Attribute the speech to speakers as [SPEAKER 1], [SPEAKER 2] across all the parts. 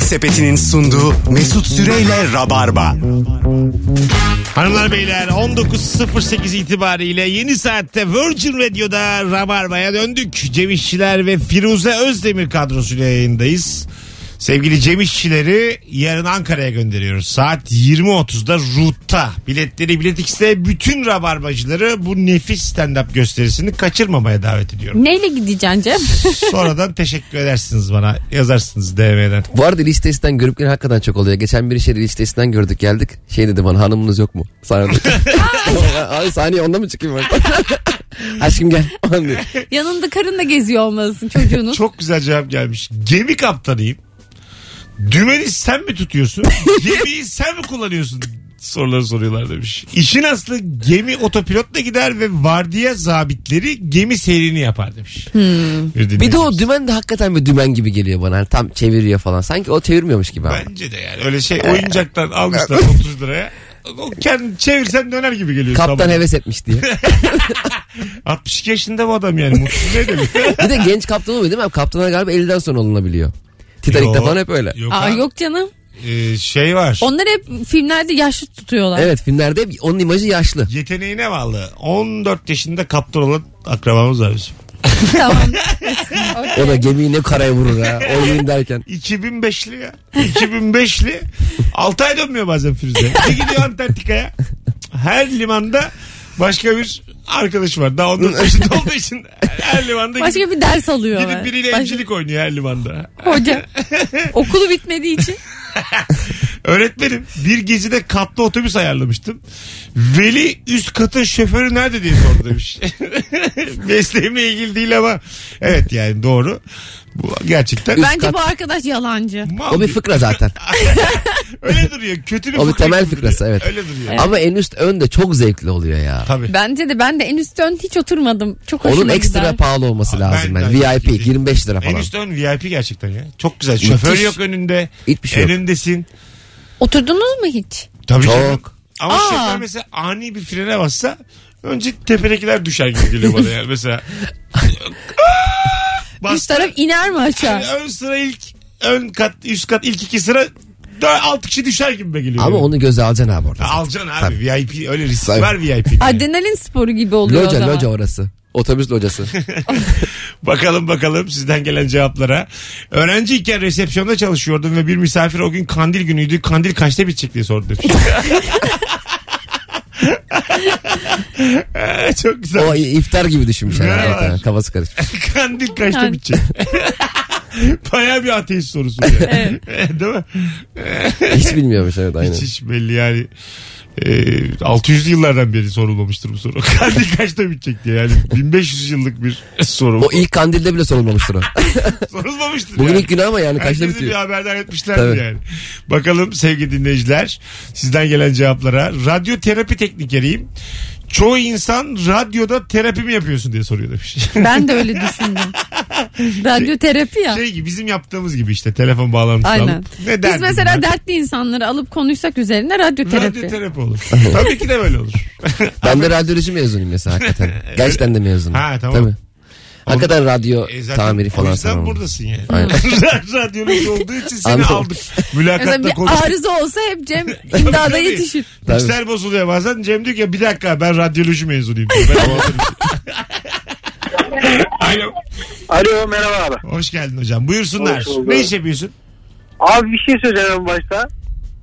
[SPEAKER 1] Sepeti'nin sunduğu Mesut Süreyle Rabarba.
[SPEAKER 2] Hanımlar beyler 19.08 itibariyle yeni saatte Virgin Radio'da Rabarba'ya döndük. Cem İşçiler ve Firuze Özdemir kadrosuyla yayındayız. Sevgili Cem İşçileri yarın Ankara'ya gönderiyoruz. Saat 20.30'da Root'ta. Biletleri Bilet X'te bütün rabarbacıları bu nefis stand-up gösterisini kaçırmamaya davet ediyorum.
[SPEAKER 3] Neyle gideceksin Cem?
[SPEAKER 2] Sonradan teşekkür edersiniz bana. Yazarsınız DM'den.
[SPEAKER 4] Bu arada listesinden görüpleri hakikaten çok oluyor. Geçen bir işe listesinden gördük geldik. Şey dedi bana hanımınız yok mu? Sahnede. Abi sahneye onda mı çıkayım ben? Aşkım gel. falan diyor.
[SPEAKER 3] Yanında karın da geziyor olmalısın çocuğunun.
[SPEAKER 2] Çok güzel cevap gelmiş. Gemi kaptanıyım. Dümeni sen mi tutuyorsun? Gemiyi sen mi kullanıyorsun? Soruları soruyorlar demiş. İşin aslı gemi otopilotla gider ve vardiya zabitleri gemi seyrini yapar demiş. Bir,
[SPEAKER 4] bir de o dümen de hakikaten bir dümen gibi geliyor bana. Hani tam çeviriyor falan. Sanki o çevirmiyormuş gibi ama.
[SPEAKER 2] Bence de yani öyle şey oyuncaktan almışlar 30 liraya. O kendi çevirsen döner gibi geliyor.
[SPEAKER 4] Kaptan
[SPEAKER 2] sabah.
[SPEAKER 4] heves etmiş diye.
[SPEAKER 2] 62 yaşında bu adam yani mutlu ne demek?
[SPEAKER 4] Bir de genç kaptan oluyor değil mi? abi? Kaptana galiba 50'den sonra olunabiliyor. Titanic'te
[SPEAKER 2] Yok.
[SPEAKER 4] falan hep öyle.
[SPEAKER 2] Yok,
[SPEAKER 3] Aa
[SPEAKER 2] abi.
[SPEAKER 3] yok canım.
[SPEAKER 2] Ee, şey var.
[SPEAKER 3] Onlar hep filmlerde yaşlı tutuyorlar.
[SPEAKER 4] Evet filmlerde hep onun imajı yaşlı.
[SPEAKER 2] Yeteneğine bağlı. 14 yaşında kaptan olan akrabamız var bizim.
[SPEAKER 3] tamam.
[SPEAKER 4] O da gemiyi ne karaya vurur ha. Oynayayım derken.
[SPEAKER 2] 2005'li ya. 2005'li. 6 ay dönmüyor bazen Firuze. Bir gidiyor Antarktika'ya. Her limanda başka bir arkadaş var. Daha onun yaşında olduğu için her limanda gidip,
[SPEAKER 3] Başka bir ders alıyor.
[SPEAKER 2] gidip
[SPEAKER 3] ben.
[SPEAKER 2] biriyle
[SPEAKER 3] Başka-
[SPEAKER 2] evcilik oynuyor her limanda.
[SPEAKER 3] Hoca. Okulu bitmediği için.
[SPEAKER 2] Öğretmenim bir gezide katlı otobüs ayarlamıştım. Veli üst katın şoförü nerede diye sordu demiş. Mesleğimle ilgili değil ama evet yani doğru. Bu gerçekten
[SPEAKER 3] Bence
[SPEAKER 4] kat.
[SPEAKER 3] bu arkadaş yalancı.
[SPEAKER 2] mal
[SPEAKER 4] O bir
[SPEAKER 2] gibi.
[SPEAKER 4] fıkra zaten.
[SPEAKER 2] Öyle duruyor. Kötü bir
[SPEAKER 4] O bir
[SPEAKER 2] fıkra
[SPEAKER 4] temel
[SPEAKER 2] gibi duruyor.
[SPEAKER 4] fıkrası, evet.
[SPEAKER 2] Öyle duruyor.
[SPEAKER 4] Ama en üst ön de çok zevkli oluyor ya.
[SPEAKER 2] Tabii.
[SPEAKER 3] Bence de ben de en üst ön hiç oturmadım. Çok hoşuma
[SPEAKER 4] Onun ekstra
[SPEAKER 3] gider.
[SPEAKER 4] pahalı olması
[SPEAKER 2] Aa,
[SPEAKER 4] lazım.
[SPEAKER 2] ben-
[SPEAKER 4] yani.
[SPEAKER 2] ben-
[SPEAKER 4] VIP 25 lira
[SPEAKER 2] En
[SPEAKER 4] falan.
[SPEAKER 2] üst ön VIP gerçekten ya. Çok güzel. Şoför
[SPEAKER 4] Müthiş.
[SPEAKER 2] yok önünde.
[SPEAKER 4] Hiçbir şey yok.
[SPEAKER 2] Önündesin.
[SPEAKER 3] Oturdunuz mu hiç?
[SPEAKER 2] Tabii
[SPEAKER 4] Çok.
[SPEAKER 2] canım. Ama
[SPEAKER 3] Aa.
[SPEAKER 2] şoför mesela ani bir frene bassa önce tepedekiler düşer gibi geliyor bana yani mesela.
[SPEAKER 3] Üst taraf iner mi aşağı?
[SPEAKER 2] ön sıra ilk ön kat üst kat ilk iki sıra dört, altı kişi düşer gibi geliyor.
[SPEAKER 4] Ama
[SPEAKER 2] Yani.
[SPEAKER 4] onu göze alacaksın abi orada.
[SPEAKER 2] Alacaksın abi
[SPEAKER 4] Tabii.
[SPEAKER 2] VIP öyle risk
[SPEAKER 4] Tabii.
[SPEAKER 2] var VIP. 'de.
[SPEAKER 3] Adrenalin sporu gibi oluyor o
[SPEAKER 4] Loca
[SPEAKER 3] zaman.
[SPEAKER 4] loca orası. Otobüs locası.
[SPEAKER 2] Bakalım bakalım sizden gelen cevaplara. Öğrenciyken resepsiyonda çalışıyordum ve bir misafir o gün kandil günüydü. Kandil kaçta bitecek diye sordu demiş. Ee, Çok güzel.
[SPEAKER 4] o iftar gibi düşünmüş.
[SPEAKER 2] Ne
[SPEAKER 4] herhalde.
[SPEAKER 2] var?
[SPEAKER 4] Evet, evet. Kafası karışmış.
[SPEAKER 2] Kandil kaçta
[SPEAKER 3] Kandil.
[SPEAKER 2] bitecek? Baya bir ateist sorusu. yani. Değil mi?
[SPEAKER 4] Hiç bilmiyormuş evet aynen.
[SPEAKER 2] Hiç, hiç belli yani. Ee, 600'lü yıllardan beri sorulmamıştır bu soru. Kandil kaçta bitecek diye. Yani 1500 yıllık bir soru.
[SPEAKER 4] O ilk kandilde bile sorulmamıştır o.
[SPEAKER 2] Sorulmamıştır.
[SPEAKER 4] Bugün
[SPEAKER 2] yani.
[SPEAKER 4] ilk günü ama yani Hani kaçta
[SPEAKER 2] Herkesi bir
[SPEAKER 4] bitiyor?
[SPEAKER 2] haberdar etmişler
[SPEAKER 4] Tabii.
[SPEAKER 2] yani. Bakalım sevgili dinleyiciler sizden gelen cevaplara. Radyoterapi teknikeriyim. Çoğu insan radyoda terapi mi yapıyorsun diye soruyor demiş.
[SPEAKER 3] Ben de öyle düşündüm. Radyoterapi ya.
[SPEAKER 2] şey gibi bizim yaptığımız gibi işte telefon bağlantısını
[SPEAKER 3] Aynen.
[SPEAKER 2] alıp. Ne
[SPEAKER 3] Biz
[SPEAKER 2] derdin
[SPEAKER 3] mesela
[SPEAKER 2] var?
[SPEAKER 3] dertli insanları alıp konuşsak üzerine radyoterapi.
[SPEAKER 2] Radyoterapi olur. Tabii ki de böyle olur.
[SPEAKER 4] Ben de radyoloji mezunuyum mesela hakikaten. Gerçekten de mezunum.
[SPEAKER 2] Ha, tamam.
[SPEAKER 4] Tabii. Hakikaten radyo
[SPEAKER 2] E zaten
[SPEAKER 4] tamiri
[SPEAKER 2] O
[SPEAKER 4] falan
[SPEAKER 2] yüzden
[SPEAKER 4] sanırım.
[SPEAKER 2] buradasın yani.
[SPEAKER 4] Aynen.
[SPEAKER 2] Radyoloji olduğu için seni
[SPEAKER 4] Anladım.
[SPEAKER 2] aldık.
[SPEAKER 3] Mesela
[SPEAKER 2] Mülakatta
[SPEAKER 3] bir
[SPEAKER 2] konuştuk.
[SPEAKER 3] arıza olsa hep Cem
[SPEAKER 2] Tabii,
[SPEAKER 3] imdada
[SPEAKER 2] tabii.
[SPEAKER 3] yetişir.
[SPEAKER 4] Tabii.
[SPEAKER 2] İşler bozuluyor bazen. Cem diyor ki "Ya bir dakika ben radyoloji mezunuyum. diyor. Ben anlamadım. Alo.
[SPEAKER 5] Alo merhaba abi.
[SPEAKER 2] Hoş geldin hocam. Buyursunlar.
[SPEAKER 5] Hoş bulduk.
[SPEAKER 2] ne iş yapıyorsun?
[SPEAKER 5] Abi bir şey söyleyeceğim en başta.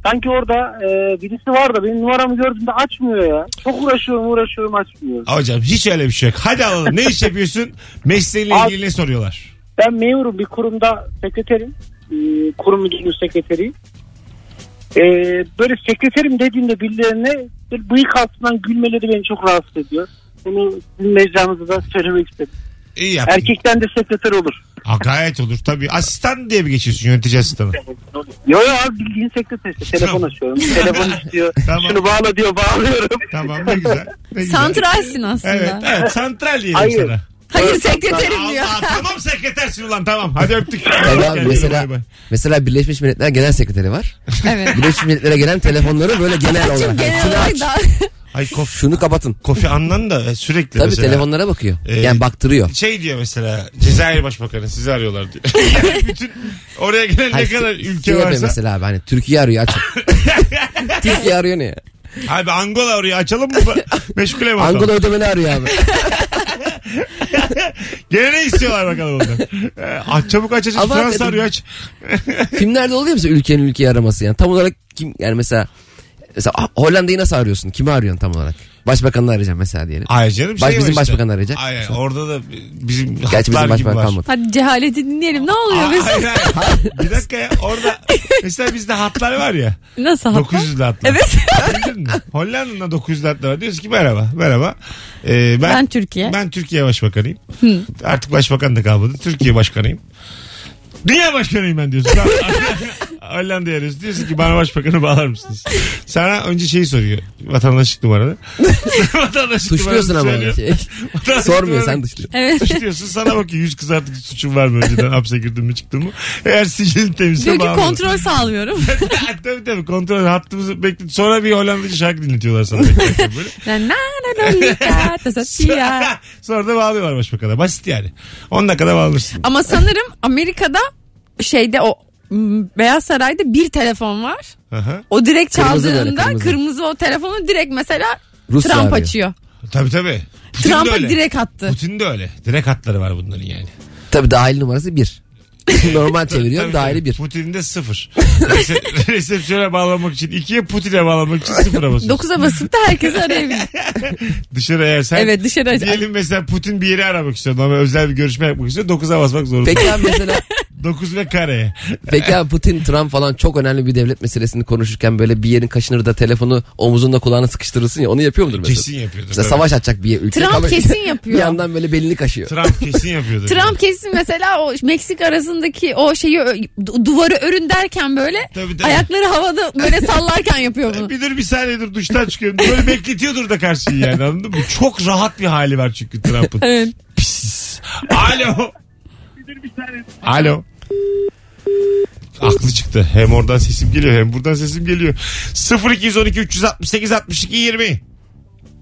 [SPEAKER 5] Sanki orada e, birisi var da benim numaramı gördüğünde açmıyor ya. Çok uğraşıyorum uğraşıyorum açmıyor.
[SPEAKER 2] Hocam hiç öyle bir şey yok. Hadi alalım. Ne iş yapıyorsun? Mesleğinle
[SPEAKER 5] Abi-
[SPEAKER 2] ilgili ne soruyorlar?
[SPEAKER 5] Ben memurum bir kurumda sekreterim. E, kurum müdürlüğü sekreteriyim. E, böyle sekreterim dediğimde birilerine böyle bıyık altından gülmeleri beni çok rahatsız ediyor. Bunu sizin mecranızda da söylemek istedim.
[SPEAKER 2] İyi yaptın.
[SPEAKER 5] Erkekten de sekreter olur.
[SPEAKER 2] Ha, gayet olur tabii. Asistan diye mi geçiyorsun yönetici asistanı?
[SPEAKER 5] Yo yo abi bildiğin sekreter işte. Telefon
[SPEAKER 2] Tamam.
[SPEAKER 5] açıyorum. Telefon istiyor.
[SPEAKER 2] Tamam.
[SPEAKER 5] Şunu bağla diyor bağlıyorum.
[SPEAKER 2] tamam ne güzel. Ne güzel.
[SPEAKER 3] Santralsin aslında.
[SPEAKER 2] Evet, evet santral diyelim
[SPEAKER 5] Hayır.
[SPEAKER 2] sana.
[SPEAKER 3] Hayır sekreterim diyor.
[SPEAKER 2] Allah, tamam sekretersin ulan tamam. Hadi öptük.
[SPEAKER 4] Tabii abi,
[SPEAKER 2] Kendine
[SPEAKER 4] mesela,
[SPEAKER 2] bay bay.
[SPEAKER 4] mesela Birleşmiş Milletler Genel Sekreteri var.
[SPEAKER 3] Evet.
[SPEAKER 4] Birleşmiş Milletlere gelen telefonları böyle genel olarak.
[SPEAKER 3] Cem
[SPEAKER 4] yani
[SPEAKER 3] genel
[SPEAKER 4] şunu
[SPEAKER 3] olarak
[SPEAKER 4] aç,
[SPEAKER 3] daha
[SPEAKER 2] Ay kof,
[SPEAKER 4] Şunu kapatın.
[SPEAKER 2] Kofi Annan da sürekli
[SPEAKER 4] Tabii
[SPEAKER 2] mesela.
[SPEAKER 4] telefonlara bakıyor.
[SPEAKER 2] Ee,
[SPEAKER 4] yani baktırıyor.
[SPEAKER 2] Şey diyor mesela Cezayir Başbakanı sizi arıyorlar diyor. Yani bütün oraya gelen ne
[SPEAKER 4] Hayır,
[SPEAKER 2] kadar
[SPEAKER 4] S-
[SPEAKER 2] ülke
[SPEAKER 4] SİAB
[SPEAKER 2] varsa.
[SPEAKER 4] Mesela abi hani Türkiye arıyor açın. Türkiye arıyor ne ya?
[SPEAKER 2] Abi Angola oraya açalım mı? Meşgule bakalım.
[SPEAKER 4] Angola ödemeni arıyor abi.
[SPEAKER 2] Gene ne istiyorlar bakalım ondan. Ee, aç çabuk aç aç. aç.
[SPEAKER 4] Ama
[SPEAKER 2] Fransa
[SPEAKER 4] dedim-
[SPEAKER 2] arıyor aç.
[SPEAKER 4] Filmlerde oluyor mesela ülkenin ülkeyi araması yani. Tam olarak kim yani mesela mesela ah, Hollanda'yı nasıl arıyorsun? Kimi arıyorsun tam olarak? Başbakanını arayacağım mesela diyelim.
[SPEAKER 2] Hayır canım
[SPEAKER 4] Baş-
[SPEAKER 2] şey var
[SPEAKER 4] bizim
[SPEAKER 2] işte.
[SPEAKER 4] başbakan arayacak.
[SPEAKER 2] Hayır orada da bizim hatlar
[SPEAKER 4] Gerçi bizim
[SPEAKER 2] gibi
[SPEAKER 4] başbakan
[SPEAKER 2] var.
[SPEAKER 4] kalmadı.
[SPEAKER 3] Hadi cehaleti dinleyelim. Ne
[SPEAKER 2] Aa,
[SPEAKER 3] oluyor? Mesut?
[SPEAKER 2] hayır, hayır. Bir dakika ya orada mesela bizde hatlar var ya.
[SPEAKER 3] Nasıl hatta?
[SPEAKER 2] 900'lü hatlar.
[SPEAKER 3] Evet.
[SPEAKER 2] Bildin mi? Hollanda'da 900 hatlar var. Diyorsun ki merhaba merhaba. Ee, ben,
[SPEAKER 3] Ben Türkiye.
[SPEAKER 2] Ben Türkiye başbakanıyım. Artık başbakan da kalmadı. Türkiye başkanıyım. Dünya başkanıyım ben diyorsun. Tamam. Hollanda'ya arıyorsun. Diyorsun ki bana başbakanı bağlar mısınız? Sana önce şeyi soruyor. Vatandaşlık numaranı. vatandaşlık
[SPEAKER 4] Tuşluyorsun
[SPEAKER 2] numaranı
[SPEAKER 4] ama.
[SPEAKER 2] söylüyor.
[SPEAKER 4] Şey,
[SPEAKER 2] Vatandaşlık
[SPEAKER 4] sormuyor
[SPEAKER 2] numaranı-
[SPEAKER 4] sen tuşluyorsun.
[SPEAKER 3] Evet.
[SPEAKER 2] Tuşluyorsun sana bakıyor. Yüz kızartıcı suçum var mı önceden? Hapse girdim mi çıktım mı? Eğer sicilin temizse
[SPEAKER 3] Diyor ki
[SPEAKER 2] bağlarım.
[SPEAKER 3] kontrol sağlıyorum.
[SPEAKER 2] tabii tabii kontrol hattımızı beklet. Sonra bir Hollandacı şarkı dinletiyorlar sana. Bekliyorsun böyle.
[SPEAKER 3] Na, na, na, na, ta, ta, ti, ya.
[SPEAKER 2] Sonra da bağlıyorlar başbakana. Basit yani. 10 dakikada bağlanırsın.
[SPEAKER 3] Ama sanırım Amerika'da şeyde o m, Beyaz Saray'da bir telefon var.
[SPEAKER 2] Aha.
[SPEAKER 3] O direkt
[SPEAKER 4] Kırmızı böyle,
[SPEAKER 3] çaldığında kırmızı.
[SPEAKER 4] kırmızı.
[SPEAKER 3] o telefonu direkt mesela
[SPEAKER 4] Rusya
[SPEAKER 3] Trump
[SPEAKER 4] arıyor.
[SPEAKER 3] açıyor.
[SPEAKER 2] Tabii tabii. Putin de
[SPEAKER 3] Trump'a
[SPEAKER 2] öyle.
[SPEAKER 3] direkt attı.
[SPEAKER 2] Putin de öyle. Direkt hatları var bunların yani.
[SPEAKER 4] Tabii dahil numarası bir. Normal çeviriyorum
[SPEAKER 2] Tabii,
[SPEAKER 4] dahili
[SPEAKER 2] tabii.
[SPEAKER 4] bir.
[SPEAKER 2] Putin'de sıfır. Rese- Resepsiyona bağlamak için ikiye Putin'e bağlamak için sıfıra basıyorsun.
[SPEAKER 3] 9'a basıp da herkesi arayabilir.
[SPEAKER 2] Dışarı eğer sen
[SPEAKER 3] evet dışarı aç.
[SPEAKER 2] diyelim mesela Putin bir yeri aramak istiyor. Ama özel bir görüşme yapmak istiyor. 9'a basmak zorunda.
[SPEAKER 4] Peki abi mesela
[SPEAKER 2] 9 ve kareye.
[SPEAKER 4] peki abi Putin, Trump falan çok önemli bir devlet meselesini konuşurken böyle bir yerin kaşınır da telefonu omuzunda kulağına sıkıştırırsın ya onu yapıyor mudur mesela?
[SPEAKER 2] Kesin yapıyordur.
[SPEAKER 4] Mesela
[SPEAKER 2] tabii.
[SPEAKER 4] savaş açacak bir ülke.
[SPEAKER 3] Trump
[SPEAKER 4] Ama-
[SPEAKER 3] kesin yapıyor.
[SPEAKER 4] Bir yandan böyle belini kaşıyor.
[SPEAKER 2] Trump kesin yapıyordur.
[SPEAKER 3] Trump kesin mesela o Meksika arasındaki o şeyi ö- du- duvarı örün derken böyle
[SPEAKER 2] Tabii, tabii.
[SPEAKER 3] ayakları havada böyle sallarken yapıyor bunu.
[SPEAKER 2] Bir dur bir saniye dur duştan çıkıyorum. Böyle bekletiyordur da karşıyı yani anladın mı? Çok rahat bir hali var çünkü Trump'ın.
[SPEAKER 3] Evet.
[SPEAKER 2] Pis. Alo. Alo. Aklı çıktı. Hem oradan sesim geliyor hem buradan sesim geliyor. 0212 368 62 20.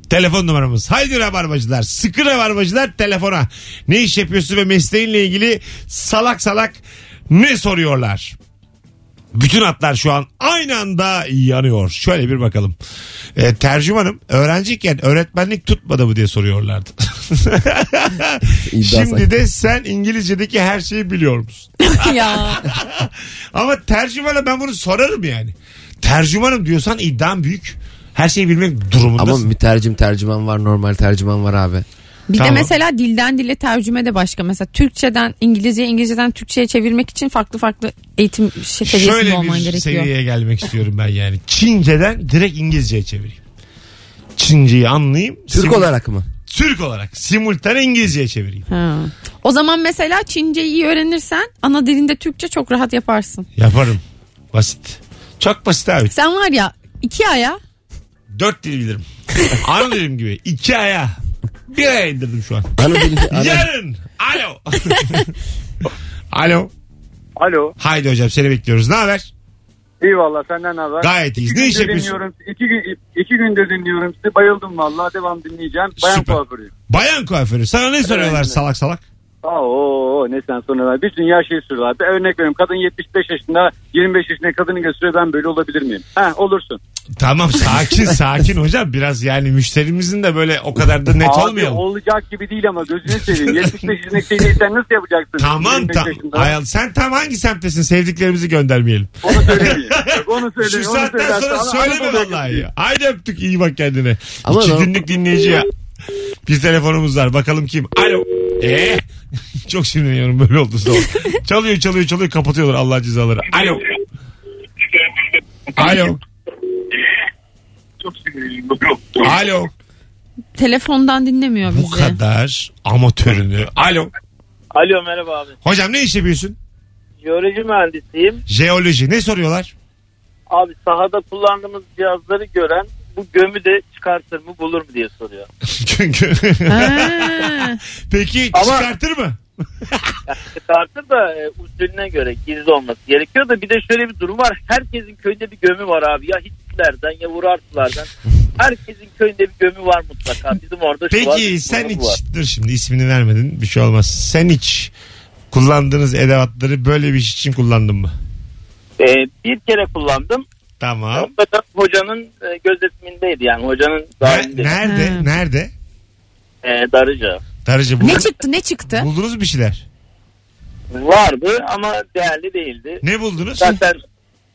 [SPEAKER 2] Telefon numaramız. Haydi rabarbacılar. Sıkı rabarbacılar telefona. Ne iş yapıyorsun ve mesleğinle ilgili salak salak ne soruyorlar? Bütün hatlar şu an aynı anda yanıyor. Şöyle bir bakalım. Ee, tercümanım öğrenciyken öğretmenlik tutmadı mı diye soruyorlardı.
[SPEAKER 4] İddia
[SPEAKER 2] Şimdi
[SPEAKER 4] sahibi.
[SPEAKER 2] de sen İngilizce'deki her şeyi biliyor musun?
[SPEAKER 3] ya.
[SPEAKER 2] Ama tercümana ben bunu sorarım yani. Tercümanım diyorsan iddiam büyük. Her şeyi bilmek durumundasın.
[SPEAKER 4] Ama mütercim tercüman var normal tercüman var abi.
[SPEAKER 3] Bir
[SPEAKER 2] Tamam.
[SPEAKER 3] de mesela dilden dile tercüme de başka. Mesela Türkçeden İngilizceye, İngilizceden Türkçeye çevirmek için farklı farklı eğitim şey- seviyesinde
[SPEAKER 2] Şöyle bir
[SPEAKER 3] olman gerekiyor.
[SPEAKER 2] seviyeye gelmek istiyorum ben yani. Çince'den direkt İngilizce'ye çevireyim. Çince'yi anlayayım.
[SPEAKER 4] Türk
[SPEAKER 2] Simul-
[SPEAKER 4] olarak mı?
[SPEAKER 2] Türk olarak. Simultane İngilizce'ye çevireyim.
[SPEAKER 3] Ha. O zaman mesela Çince'yi iyi öğrenirsen ana dilinde Türkçe çok rahat yaparsın.
[SPEAKER 2] Yaparım. Basit. Çok basit abi.
[SPEAKER 3] Sen var ya iki aya
[SPEAKER 2] Dört dil bilirim. Ana dilim gibi. İki aya. Bir aya indirdim şu an.
[SPEAKER 4] Ana dili, ana,
[SPEAKER 2] Yarın. Alo. Alo.
[SPEAKER 5] Alo.
[SPEAKER 2] Haydi hocam seni bekliyoruz. Ne haber?
[SPEAKER 5] İyi valla senden ne haber?
[SPEAKER 2] Gayet iyiyiz.
[SPEAKER 5] İki
[SPEAKER 2] Ne iş
[SPEAKER 5] gündür
[SPEAKER 2] yapıyorsun?
[SPEAKER 5] dinliyorum. İki, gün, iki gündür dinliyorum sizi. Bayıldım valla. Devam dinleyeceğim. Bayan
[SPEAKER 2] Süper.
[SPEAKER 5] kuaförüyüm.
[SPEAKER 2] Bayan kuaförü. Sana ne soruyorlar
[SPEAKER 5] Evet.
[SPEAKER 2] salak salak?
[SPEAKER 5] Aa, oo, oo, ne sen sonra bir dünya şey soruyorlar. Bir örnek veriyorum. Kadın 75 yaşında 25 yaşında kadını gösteriyor. Ben böyle olabilir miyim? Ha olursun.
[SPEAKER 2] Tamam sakin sakin hocam. Biraz yani müşterimizin de böyle o kadar da net
[SPEAKER 5] Abi,
[SPEAKER 2] olmayalım.
[SPEAKER 5] olacak gibi değil ama gözünü seveyim. 75 yaşındaki şeyi sen nasıl yapacaksın?
[SPEAKER 2] Tamam
[SPEAKER 5] 25
[SPEAKER 2] tamam.
[SPEAKER 5] yaşında.
[SPEAKER 2] Ayal sen tam hangi semttesin? Sevdiklerimizi göndermeyelim.
[SPEAKER 5] Onu söylemeyeyim. Bak, Onu
[SPEAKER 2] Şu
[SPEAKER 5] söylemeyeyim. onu
[SPEAKER 2] saatten
[SPEAKER 5] söylersen
[SPEAKER 2] sonra
[SPEAKER 5] ana-
[SPEAKER 2] söyleme
[SPEAKER 5] Anadolu'ya
[SPEAKER 2] vallahi.
[SPEAKER 5] götüreyim.
[SPEAKER 2] ya. Haydi öptük iyi bak kendine.
[SPEAKER 4] Ama
[SPEAKER 2] İki
[SPEAKER 4] normal-
[SPEAKER 2] günlük dinleyici ya. Bir telefonumuz var bakalım kim? Alo. Ee? Çok sinirleniyorum böyle oldu zaman. çalıyor çalıyor çalıyor kapatıyorlar Allah cezaları. Alo. Alo. Alo.
[SPEAKER 3] telefondan dinlemiyor bizi.
[SPEAKER 2] Bu kadar amatörünü. Alo.
[SPEAKER 6] Alo merhaba abi.
[SPEAKER 2] Hocam ne iş yapıyorsun?
[SPEAKER 6] Jeoloji mühendisiyim.
[SPEAKER 2] Jeoloji. Ne soruyorlar?
[SPEAKER 6] Abi sahada kullandığımız cihazları gören bu gömü de çıkartır mı bulur mu E, diye soruyor.
[SPEAKER 2] Çünkü.
[SPEAKER 3] Ha.
[SPEAKER 2] Peki
[SPEAKER 6] Ama-
[SPEAKER 2] çıkartır mı?
[SPEAKER 6] Tartır da e, usulüne göre gizli olması gerekiyor da bir de şöyle bir durum var. Herkesin köyünde bir gömü var abi. Ya Hititlerden ya Urartulardan. Herkesin köyünde bir gömü var mutlaka. Bizim orada şu var,
[SPEAKER 2] Peki
[SPEAKER 6] bizim
[SPEAKER 2] sen
[SPEAKER 6] orada
[SPEAKER 2] hiç
[SPEAKER 6] bu var.
[SPEAKER 2] dur şimdi ismini vermedin bir şey olmaz. Sen hiç kullandığınız edevatları böyle bir iş için kullandın mı?
[SPEAKER 6] E, bir kere kullandım.
[SPEAKER 2] Tamam.
[SPEAKER 6] Onda da hocanın e, gözetimindeydi yani hocanın
[SPEAKER 2] Ne-
[SPEAKER 6] dahilinde.
[SPEAKER 2] nerede?
[SPEAKER 3] Ha.
[SPEAKER 2] Nerede?
[SPEAKER 6] E, darıca.
[SPEAKER 2] Darıcı
[SPEAKER 3] Ne
[SPEAKER 2] buldun,
[SPEAKER 3] çıktı ne çıktı?
[SPEAKER 2] buldunuz mu bir şeyler?
[SPEAKER 6] Vardı ama değerli değildi.
[SPEAKER 2] Ne buldunuz?
[SPEAKER 6] Zaten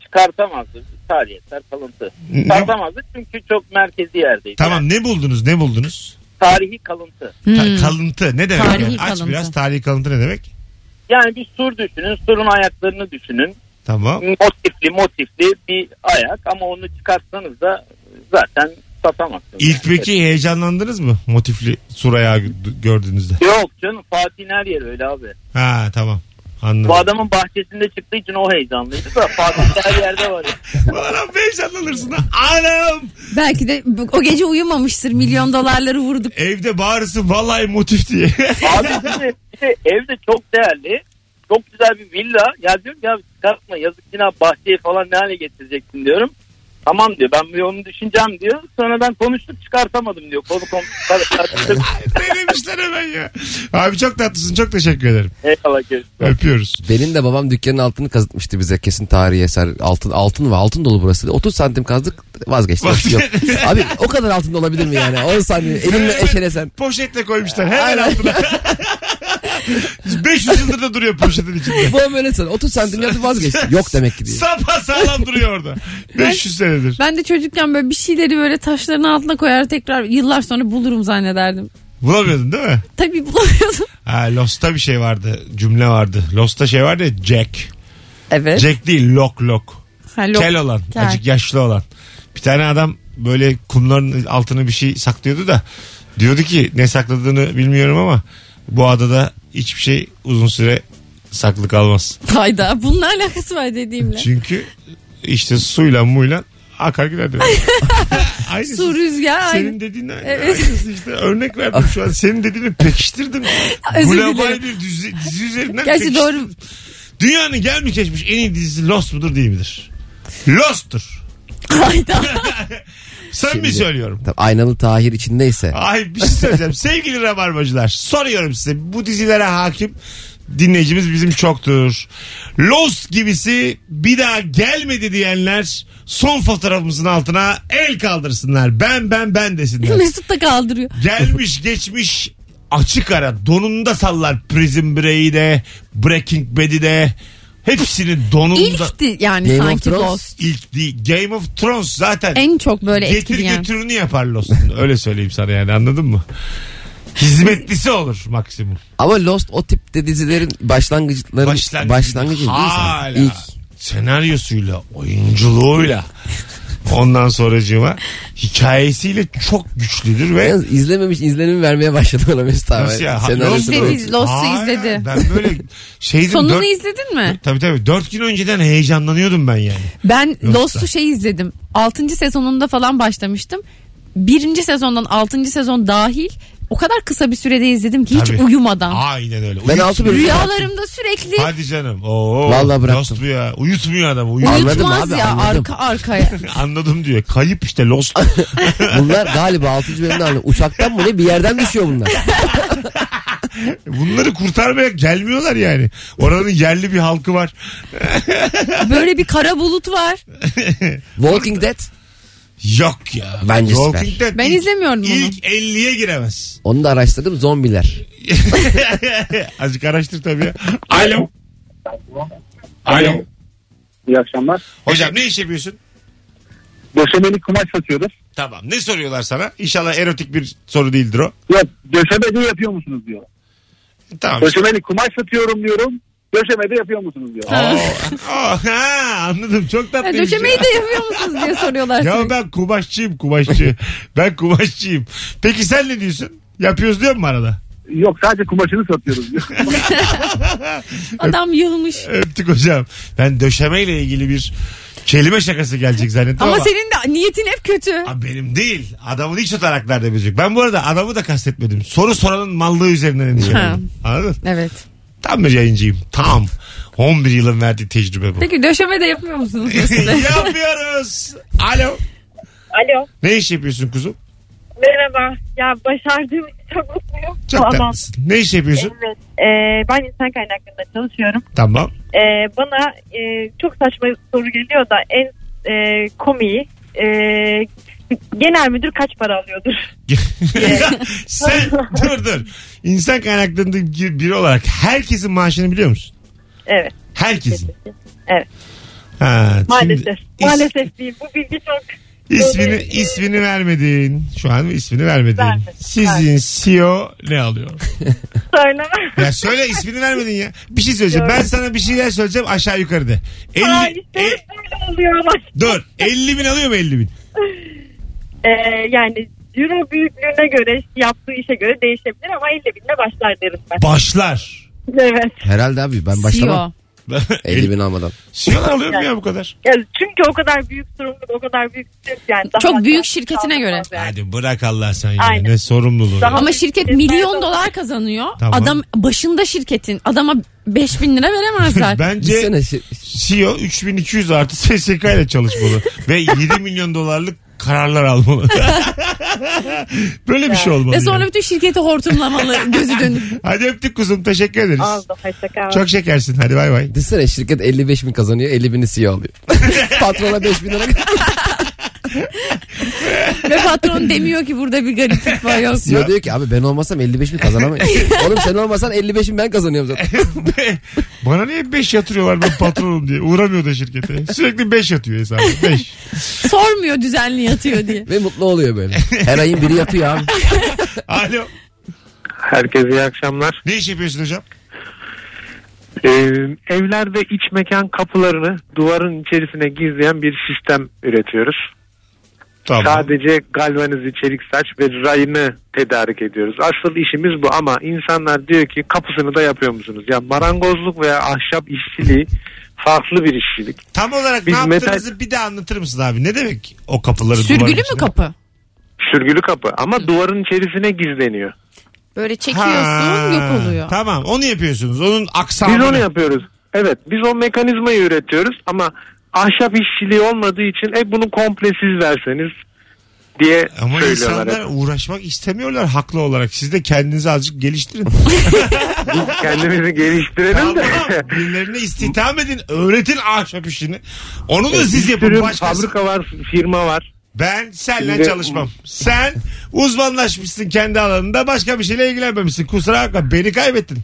[SPEAKER 6] çıkartamazdı. Tarihler kalıntı.
[SPEAKER 2] Ne-
[SPEAKER 6] Çıkartamazdı çünkü çok merkezi yerdeydi. Yani
[SPEAKER 2] Tamam ne buldunuz? Ne buldunuz?
[SPEAKER 6] tarihi kalıntı.
[SPEAKER 2] Ta-
[SPEAKER 3] Hmm.
[SPEAKER 2] kalıntı ne demek?
[SPEAKER 3] Tarihi
[SPEAKER 2] yani? Aç
[SPEAKER 3] kalıntı.
[SPEAKER 2] biraz tarihi kalıntı ne demek?
[SPEAKER 6] Yani bir sur düşünün. Surun ayaklarını düşünün.
[SPEAKER 2] Tamam.
[SPEAKER 6] Motifli motifli bir ayak ama onu çıkartsanız da zaten satamazsınız.
[SPEAKER 2] İlk
[SPEAKER 6] Yani.
[SPEAKER 2] peki heyecanlandınız mı? Motifli suraya g- gördüğünüzde.
[SPEAKER 6] Yok canım Fatih'in her yeri öyle abi.
[SPEAKER 2] Ha tamam. Anladım.
[SPEAKER 6] Bu adamın bahçesinde çıktığı için o heyecanlıydı da Fatih'in her yerde var. ya.
[SPEAKER 2] Ulan abi heyecanlanırsın. ha. Anam.
[SPEAKER 3] Belki de bu- o gece uyumamıştır milyon dolarları vurduk.
[SPEAKER 2] Evde bağırsın vallahi motif diye.
[SPEAKER 6] Abi bir de, bir de evde çok değerli. Çok güzel bir villa. Ya diyorum ya çıkartma yazık yine bahçeyi falan ne hale getireceksin diyorum. Tamam diyor ben bir onu düşüneceğim diyor. Sonra ben konuştuk çıkartamadım diyor. Konu komşu.
[SPEAKER 2] ne demişler hemen ya. Abi çok tatlısın. Çok teşekkür ederim.
[SPEAKER 6] Eyvallah görüşürüz.
[SPEAKER 2] Öpüyoruz.
[SPEAKER 4] Benim de babam dükkanın altını kazıtmıştı bize kesin tarihi eser. Altın altın var altın dolu burası. 30 santim kazdık vazgeçtik. Yok. Abi o kadar altın olabilir mi yani? 10 santim elinle eşelesen.
[SPEAKER 2] Poşetle koymuşlar hemen altına. 500 yıldır da duruyor poşetin içinde.
[SPEAKER 4] Bu an böyle sen 30 santim yaptı vazgeçtik. Yok demek ki diye.
[SPEAKER 2] Sapa sağlam duruyor orada. 500 senedir.
[SPEAKER 3] Ben de çocukken böyle bir şeyleri böyle taşların altına koyar tekrar yıllar sonra bulurum zannederdim.
[SPEAKER 2] Bulamıyordun değil mi?
[SPEAKER 3] Tabii bulamıyordum.
[SPEAKER 2] Ha, Lost'ta bir şey vardı. Cümle vardı. Lost'ta şey vardı ya Jack.
[SPEAKER 3] Evet.
[SPEAKER 2] Jack değil Lok Lok.
[SPEAKER 3] Ha, lok.
[SPEAKER 2] Kel olan.
[SPEAKER 3] Kel.
[SPEAKER 2] Acık yaşlı olan. Bir tane adam böyle kumların altına bir şey saklıyordu da diyordu ki ne sakladığını bilmiyorum ama bu adada hiçbir şey uzun süre saklı kalmaz.
[SPEAKER 3] Hayda bunun ne alakası var dediğimle.
[SPEAKER 2] Çünkü işte suyla muyla akar gider demek. Aynısı.
[SPEAKER 3] Su rüzgar aynı.
[SPEAKER 2] Senin dediğin aynı.
[SPEAKER 3] Evet.
[SPEAKER 2] Aynısı işte. Örnek verdim şu an. Senin dediğini pekiştirdim.
[SPEAKER 3] Özür
[SPEAKER 2] Global
[SPEAKER 3] dilerim.
[SPEAKER 2] bir dizi, dizi üzerinden
[SPEAKER 3] Gerçi
[SPEAKER 2] pekiştirdim.
[SPEAKER 3] doğru.
[SPEAKER 2] Dünyanın gelmiş geçmiş en iyi dizisi Lost mudur değil midir? Lost'tur.
[SPEAKER 3] Hayda.
[SPEAKER 2] Sen mi
[SPEAKER 4] Şimdi-
[SPEAKER 2] söylüyorum?
[SPEAKER 4] Tabii aynalı Tahir içindeyse.
[SPEAKER 2] Ay bir şey söyleyeceğim. Sevgili Rabarbacılar soruyorum size. Bu dizilere hakim dinleyicimiz bizim çoktur. Lost gibisi bir daha gelmedi diyenler son fotoğrafımızın altına el kaldırsınlar. Ben ben ben desinler.
[SPEAKER 3] Mesut da kaldırıyor.
[SPEAKER 2] Gelmiş geçmiş açık ara donunda sallar Prison Break'i de Breaking Bad'i de hepsini donunda
[SPEAKER 3] İlkti yani
[SPEAKER 4] Game of
[SPEAKER 3] sanki
[SPEAKER 4] Thrones.
[SPEAKER 3] Lost.
[SPEAKER 2] ilk değil. Game of Thrones zaten
[SPEAKER 3] En çok böyle
[SPEAKER 2] getir
[SPEAKER 3] etkileyen.
[SPEAKER 2] götürünü yapar Lost'un. Öyle söyleyeyim sana yani anladın mı? Hizmetlisi olur maksimum.
[SPEAKER 4] Ama Lost o tip de dizilerin başlangıçları
[SPEAKER 2] Başlangıç.
[SPEAKER 4] başlangıcı, başlangıcı değil mi?
[SPEAKER 2] Hala.
[SPEAKER 4] İlk.
[SPEAKER 2] Senaryosuyla, oyunculuğuyla. Ondan sonracığıma hikayesiyle çok güçlüdür ve
[SPEAKER 4] Yalnız izlememiş izlenimi vermeye başladı ona Mesut abi.
[SPEAKER 2] Nasıl ya? Ha-
[SPEAKER 4] Senaryosu
[SPEAKER 2] Lost-
[SPEAKER 4] da-
[SPEAKER 3] İzledi, Lost'u
[SPEAKER 2] Hala.
[SPEAKER 3] izledi.
[SPEAKER 2] Ben böyle şeydim.
[SPEAKER 3] Sonunu
[SPEAKER 2] dört-
[SPEAKER 3] izledin mi?
[SPEAKER 2] Tabii tabii. Dört gün önceden heyecanlanıyordum ben yani.
[SPEAKER 3] Ben
[SPEAKER 2] Yoksa.
[SPEAKER 3] Lost'u şey izledim. 6. sezonunda falan başlamıştım. Birinci sezondan 6. sezon dahil o kadar kısa bir sürede izledim ki hiç
[SPEAKER 2] Tabii.
[SPEAKER 3] uyumadan.
[SPEAKER 2] Aynen öyle.
[SPEAKER 4] Ben
[SPEAKER 2] Uyut-
[SPEAKER 4] altı bölüm
[SPEAKER 3] Rüyalarımda sürekli
[SPEAKER 2] Hadi canım. Oo,
[SPEAKER 4] Vallahi bıraktım.
[SPEAKER 2] Lost bu ya. Uyutmuyor adam. Uyut.
[SPEAKER 4] Anladım
[SPEAKER 3] uyutmaz
[SPEAKER 4] abi,
[SPEAKER 3] ya
[SPEAKER 4] anladım.
[SPEAKER 3] arka arkaya.
[SPEAKER 2] Anladım diyor. Kayıp işte Lost.
[SPEAKER 4] Bunlar galiba 6. bölümde anlıyor. Uçaktan mı ne bir yerden düşüyor bunlar.
[SPEAKER 2] Bunları kurtarmaya gelmiyorlar yani. Oranın yerli bir halkı var.
[SPEAKER 3] Böyle bir kara bulut var.
[SPEAKER 4] Walking Dead.
[SPEAKER 2] Yok ya.
[SPEAKER 4] Bence
[SPEAKER 2] Walking Dead
[SPEAKER 3] Ben
[SPEAKER 2] ilk-
[SPEAKER 3] izlemiyorum bunu.
[SPEAKER 2] İlk 50'ye giremez.
[SPEAKER 4] Onu da araştırdım zombiler.
[SPEAKER 2] Azıcık araştır tabii ya. Alo. Alo.
[SPEAKER 5] İyi akşamlar.
[SPEAKER 2] Hocam ne iş yapıyorsun?
[SPEAKER 5] Döşemeli kumaş satıyoruz.
[SPEAKER 2] Tamam. Ne soruyorlar sana? İnşallah erotik bir soru değildir o.
[SPEAKER 5] Yok döşeme de yapıyor musunuz diyor.
[SPEAKER 2] Tamam.
[SPEAKER 5] Döşemeli kumaş satıyorum diyorum. Döşeme de yapıyor musunuz diyor.
[SPEAKER 2] Oo, oo, ha, anladım. Çok
[SPEAKER 3] Ya
[SPEAKER 2] tatlı.
[SPEAKER 3] döşemeyi de yapıyor musunuz diye soruyorlar.
[SPEAKER 2] Ya
[SPEAKER 3] sürekli.
[SPEAKER 2] ben kumaşçıyım kumaşçı. ben kumaşçıyım. Peki sen ne diyorsun? Yapıyoruz diyor mu arada?
[SPEAKER 5] Yok sadece kumaşını satıyoruz diyor.
[SPEAKER 3] Adam yılmış.
[SPEAKER 2] Öptük hocam. Ben döşemeyle ilgili bir kelime şakası gelecek zannettim ama.
[SPEAKER 3] Ama senin de niyetin hep kötü.
[SPEAKER 2] Aa, benim değil. Adamın iç otanaklarda müzik. Ben bu arada adamı da kastetmedim. Soru soranın mallığı üzerinden endişelendim. Anladın?
[SPEAKER 3] Evet.
[SPEAKER 2] Tam bir yayıncıyım. Tam. 11 yılın verdiği tecrübe bu.
[SPEAKER 3] Peki döşeme de yapmıyor musunuz mesela?
[SPEAKER 2] Yapıyoruz. Alo.
[SPEAKER 7] Alo.
[SPEAKER 2] Ne iş yapıyorsun kuzum?
[SPEAKER 7] Merhaba. Ya başardığım için çok mutluyum.
[SPEAKER 2] Çok
[SPEAKER 7] Vallahi.
[SPEAKER 2] tatlısın. Ne iş yapıyorsun?
[SPEAKER 7] Evet. Ee, ben insan kaynaklarında çalışıyorum.
[SPEAKER 2] Tamam.
[SPEAKER 7] Ee, bana e, çok saçma bir soru geliyor da en e, komiği e, genel müdür kaç para alıyordur?
[SPEAKER 2] Sen dur dur. İnsan kaynaklarında biri olarak herkesin maaşını biliyor musun?
[SPEAKER 7] Evet.
[SPEAKER 2] Herkesin.
[SPEAKER 7] Evet.
[SPEAKER 2] Ha, şimdi
[SPEAKER 7] Maalesef.
[SPEAKER 2] is-
[SPEAKER 7] Maalesef değil. Bu bilgi çok
[SPEAKER 2] ismini
[SPEAKER 7] Böyle- şey
[SPEAKER 2] ismini vermedin. Şu an ismini vermedin.
[SPEAKER 7] Vermedim,
[SPEAKER 2] Sizin CEO ne alıyor?
[SPEAKER 7] söyleme.
[SPEAKER 2] Ya söyle ismini vermedin ya. Bir şey söyleyeceğim. Ben sana bir şeyler söyleyeceğim aşağı yukarıda. 50,
[SPEAKER 7] Aa, işte
[SPEAKER 2] e,
[SPEAKER 7] böyle oluyor ama.
[SPEAKER 2] dur. 50 bin alıyor mu 50 bin?
[SPEAKER 7] Ee, yani Euro büyüklüğüne göre yaptığı işe göre değişebilir ama 50 binle başlar derim ben.
[SPEAKER 2] Başlar.
[SPEAKER 7] Evet.
[SPEAKER 4] Herhalde abi
[SPEAKER 3] E
[SPEAKER 4] ben başlamam.
[SPEAKER 3] CEO.
[SPEAKER 4] 50 bin almadan.
[SPEAKER 2] CEO'lar Şey alıyor mu ya bu kadar?
[SPEAKER 7] Yani çünkü o kadar büyük sorumluluk, o kadar büyük stres yani. Daha
[SPEAKER 3] Çok büyük
[SPEAKER 7] daha-
[SPEAKER 3] şirketine göre.
[SPEAKER 7] Yani.
[SPEAKER 2] Hadi bırak Allah sen ya.
[SPEAKER 7] Aynen.
[SPEAKER 2] Ne sorumluluğu. ya.
[SPEAKER 7] Daha-
[SPEAKER 3] Ama şirket milyon dolar kazanıyor.
[SPEAKER 2] Tamam.
[SPEAKER 3] Adam başında şirketin. Adama 5000 lira veremezler.
[SPEAKER 4] Bir
[SPEAKER 2] Bence
[SPEAKER 4] sene şi-
[SPEAKER 2] CEO 3200 artı SSK ile çalışmalı. Ve 7 milyon dolarlık kararlar almalı. Böyle bir şey olmalı.
[SPEAKER 3] Ve sonra
[SPEAKER 2] yani.
[SPEAKER 3] bütün şirketi hortumlamalı gözü dönüp.
[SPEAKER 2] Hadi öptük kuzum. Teşekkür ederiz.
[SPEAKER 7] Aldım. Hoşçakal.
[SPEAKER 2] Çok şekersin. Hadi bay bay.
[SPEAKER 4] Düşünsene şirket 55 bin kazanıyor 50 bini CEO alıyor. Patrona 5 bin lira
[SPEAKER 3] Ve patron demiyor ki burada bir gariplik var yok.
[SPEAKER 4] CEO E diyor ki abi ben olmasam 55 bin kazanamayız. Oğlum sen olmasan 55 bin ben kazanıyorum zaten.
[SPEAKER 2] Bana niye 5 yatırıyorlar ben patronum diye. Uğramıyor da şirkete. Sürekli 5 yatıyor hesabı. 5.
[SPEAKER 3] Sormuyor düzenli yatıyor diye.
[SPEAKER 4] Ve mutlu oluyor böyle. Her ayın biri yatıyor abi.
[SPEAKER 2] Alo.
[SPEAKER 8] Herkese iyi akşamlar.
[SPEAKER 2] Ne iş yapıyorsun hocam?
[SPEAKER 8] Ee, evlerde iç mekan kapılarını duvarın içerisine gizleyen bir sistem üretiyoruz.
[SPEAKER 2] Tamam.
[SPEAKER 8] Sadece galvanize çelik saç ve rayını tedarik ediyoruz. Asıl işimiz bu ama insanlar diyor ki kapısını da yapıyor musunuz? Ya marangozluk veya ahşap işçiliği farklı bir işçilik.
[SPEAKER 2] Tam olarak ne
[SPEAKER 8] Biz metal-
[SPEAKER 2] yaptığınızı bir de anlatır mısın abi? Ne demek o kapıları duvarın
[SPEAKER 3] Sürgülü mü
[SPEAKER 2] içine?
[SPEAKER 3] kapı?
[SPEAKER 8] Sürgülü kapı ama duvarın içerisine gizleniyor.
[SPEAKER 3] Böyle
[SPEAKER 2] Ha,
[SPEAKER 3] çekiyorsun yok oluyor.
[SPEAKER 2] Tamam onu yapıyorsunuz. Onun aksamını.
[SPEAKER 8] Biz onu yapıyoruz. Evet biz o mekanizmayı üretiyoruz ama ahşap işçiliği olmadığı için e bunu komple siz verseniz diye
[SPEAKER 2] Ama
[SPEAKER 8] söylüyorlar.
[SPEAKER 2] insanlar uğraşmak istemiyorlar haklı olarak. Siz de kendinizi azıcık geliştirin.
[SPEAKER 8] Biz kendimizi geliştirelim
[SPEAKER 2] tamam.
[SPEAKER 8] de.
[SPEAKER 2] Birilerine istihdam edin. Öğretin ahşap işini. Onu da siz
[SPEAKER 8] Bir
[SPEAKER 2] yapın.
[SPEAKER 8] sürü
[SPEAKER 2] Başkası.
[SPEAKER 8] fabrika var, firma var.
[SPEAKER 2] Ben seninle
[SPEAKER 8] Şimdi-
[SPEAKER 2] çalışmam. Sen uzmanlaşmışsın kendi alanında. Başka bir şeyle ilgilenmemişsin. Kusura bakma beni kaybettin.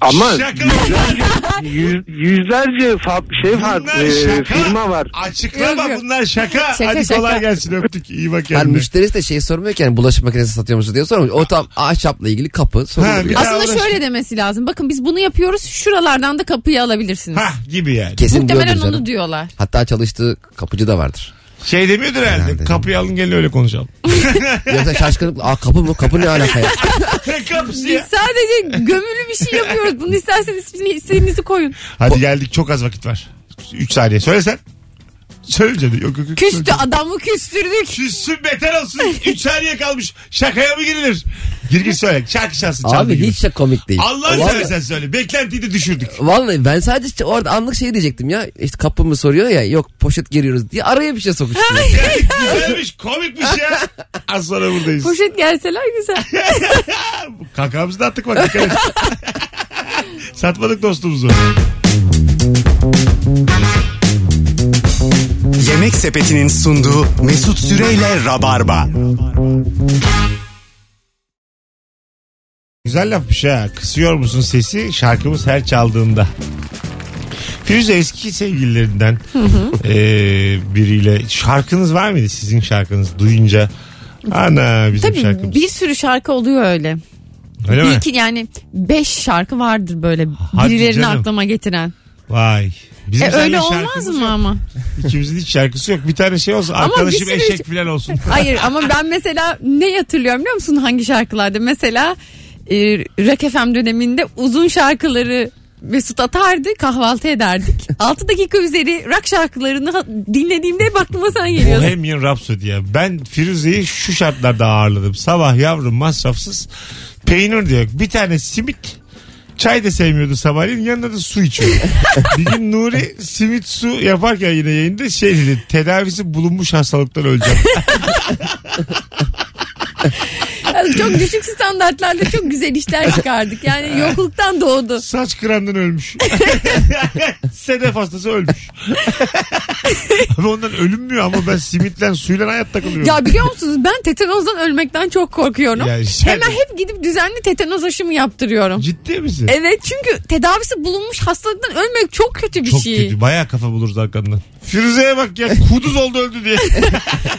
[SPEAKER 8] Ama
[SPEAKER 2] Şaka bunlar.
[SPEAKER 8] yüz- yüzlerce fa- şey var,
[SPEAKER 2] Bunlar
[SPEAKER 8] e,
[SPEAKER 2] şaka.
[SPEAKER 8] firma var.
[SPEAKER 2] Açıklama
[SPEAKER 3] Yok, yok.
[SPEAKER 2] bunlar şaka.
[SPEAKER 3] Şaka,
[SPEAKER 2] Hadi kolay
[SPEAKER 3] şaka.
[SPEAKER 2] gelsin öptük. İyi bak
[SPEAKER 4] Yani
[SPEAKER 2] kendine.
[SPEAKER 4] müşterisi de şey sormuyor ki yani bulaşık makinesi satıyor musun diye sormuyor. O tam ahşapla ilgili kapı
[SPEAKER 2] Ha,
[SPEAKER 4] soruluyor.
[SPEAKER 2] bir-
[SPEAKER 3] Aslında
[SPEAKER 2] uğraşma.
[SPEAKER 3] şöyle demesi lazım. Bakın biz bunu yapıyoruz. Şuralardan da kapıyı alabilirsiniz.
[SPEAKER 2] Hah gibi yani.
[SPEAKER 4] Kesin
[SPEAKER 3] Muhtemelen
[SPEAKER 4] diyordur
[SPEAKER 3] onu
[SPEAKER 4] canım.
[SPEAKER 3] diyorlar.
[SPEAKER 4] Hatta çalıştığı kapıcı da vardır.
[SPEAKER 2] Şey demiyordur herhalde.
[SPEAKER 4] Herhalde.
[SPEAKER 2] Kapıyı alın gelin öyle konuşalım.
[SPEAKER 4] Yoksa şaşkınlıkla aa kapı mı? Kapı ne alaka ya?
[SPEAKER 2] Ne kapısı
[SPEAKER 3] Biz
[SPEAKER 2] ya?
[SPEAKER 3] sadece gömülü bir şey yapıyoruz. Bunu isterseniz ismini, istediğinizi koyun.
[SPEAKER 2] Hadi geldik çok az vakit var. 3 saniye söylesen. Söyle canım. Yok yok yok.
[SPEAKER 3] Küstü
[SPEAKER 2] söyle.
[SPEAKER 3] adamı küstürdük.
[SPEAKER 2] Küssün beter olsun. 3 saniye kalmış. Şakaya mı girilir? Gir gir söyle. Şarkı çalsın. çaldı
[SPEAKER 4] abi
[SPEAKER 2] gibi.
[SPEAKER 4] hiç de komik değil.
[SPEAKER 2] Allah'ını
[SPEAKER 4] Vallahi-
[SPEAKER 2] seversen söyle. Beklentiyi de düşürdük.
[SPEAKER 4] Vallahi ben sadece işte orada anlık şey diyecektim ya. İşte kapı mı soruyor ya yok poşet giriyoruz diye araya bir şey sokuşturuyor.
[SPEAKER 2] Yani güzelmiş komikmiş ya. Az sonra buradayız.
[SPEAKER 3] Poşet gelseler güzel.
[SPEAKER 2] Kakamızı da attık bak. dikkat et. Satmadık dostumuzu.
[SPEAKER 1] Yemek Sepeti'nin sunduğu Mesut Süreyle Rabarba.
[SPEAKER 2] Güzel lafmış ha. Kısıyor musun sesi şarkımız her çaldığında. Firuze eski sevgililerinden eee, biriyle şarkınız var mıydı sizin şarkınız duyunca? Ana bizim
[SPEAKER 3] Tabii
[SPEAKER 2] şarkımız.
[SPEAKER 3] bir sürü şarkı oluyor öyle.
[SPEAKER 2] Öyle mi?
[SPEAKER 3] Bir iki yani beş şarkı vardır böyle
[SPEAKER 2] Hadi
[SPEAKER 3] birilerini
[SPEAKER 2] canım.
[SPEAKER 3] aklıma getiren.
[SPEAKER 2] Vay. Bizim
[SPEAKER 3] E,
[SPEAKER 2] seninle
[SPEAKER 3] öyle olmaz
[SPEAKER 2] şarkımız
[SPEAKER 3] mı
[SPEAKER 2] yok.
[SPEAKER 3] ama?
[SPEAKER 2] İkimizin hiç şarkısı yok. Bir tane şey olsun.
[SPEAKER 3] Ama bir
[SPEAKER 2] Arkadaşım
[SPEAKER 3] sürü-
[SPEAKER 2] eşek falan olsun.
[SPEAKER 3] Hayır ama ben mesela ne hatırlıyorum biliyor musun hangi şarkılarda? Mesela e, Rock FM döneminde uzun şarkıları Mesut atardı kahvaltı ederdik. 6 dakika üzeri rock şarkılarını ha- dinlediğimde hep aklıma sen geliyorsun.
[SPEAKER 2] Bohemian Rhapsody ya. Ben Firuze'yi şu şartlarda ağırladım. Sabah yavrum masrafsız peynir diyor. Bir tane simit Çay da sevmiyordu sabahleyin yanında da su içiyordu. bir gün Nuri simit su yaparken yine yayında şey dedi tedavisi bulunmuş hastalıktan öleceğim.
[SPEAKER 3] Yani çok düşük standartlarla çok güzel işler çıkardık. Yani yokluktan doğdu.
[SPEAKER 2] Saç kırandan ölmüş. Sedef hastası ölmüş. ama ondan ölünmüyor ama ben simitle suyla hayatta kalıyorum.
[SPEAKER 3] Ya biliyor musunuz ben tetanozdan ölmekten çok korkuyorum.
[SPEAKER 2] Ya işte-
[SPEAKER 3] Hemen hep gidip düzenli tetanoz aşımı yaptırıyorum.
[SPEAKER 2] Ciddi misin?
[SPEAKER 3] Evet çünkü tedavisi bulunmuş hastalıktan ölmek çok kötü bir
[SPEAKER 2] Çok
[SPEAKER 3] şey.
[SPEAKER 2] kötü. Bayağı kafa buluruz arkandan. Firuze'ye bak ya kuduz oldu öldü diye.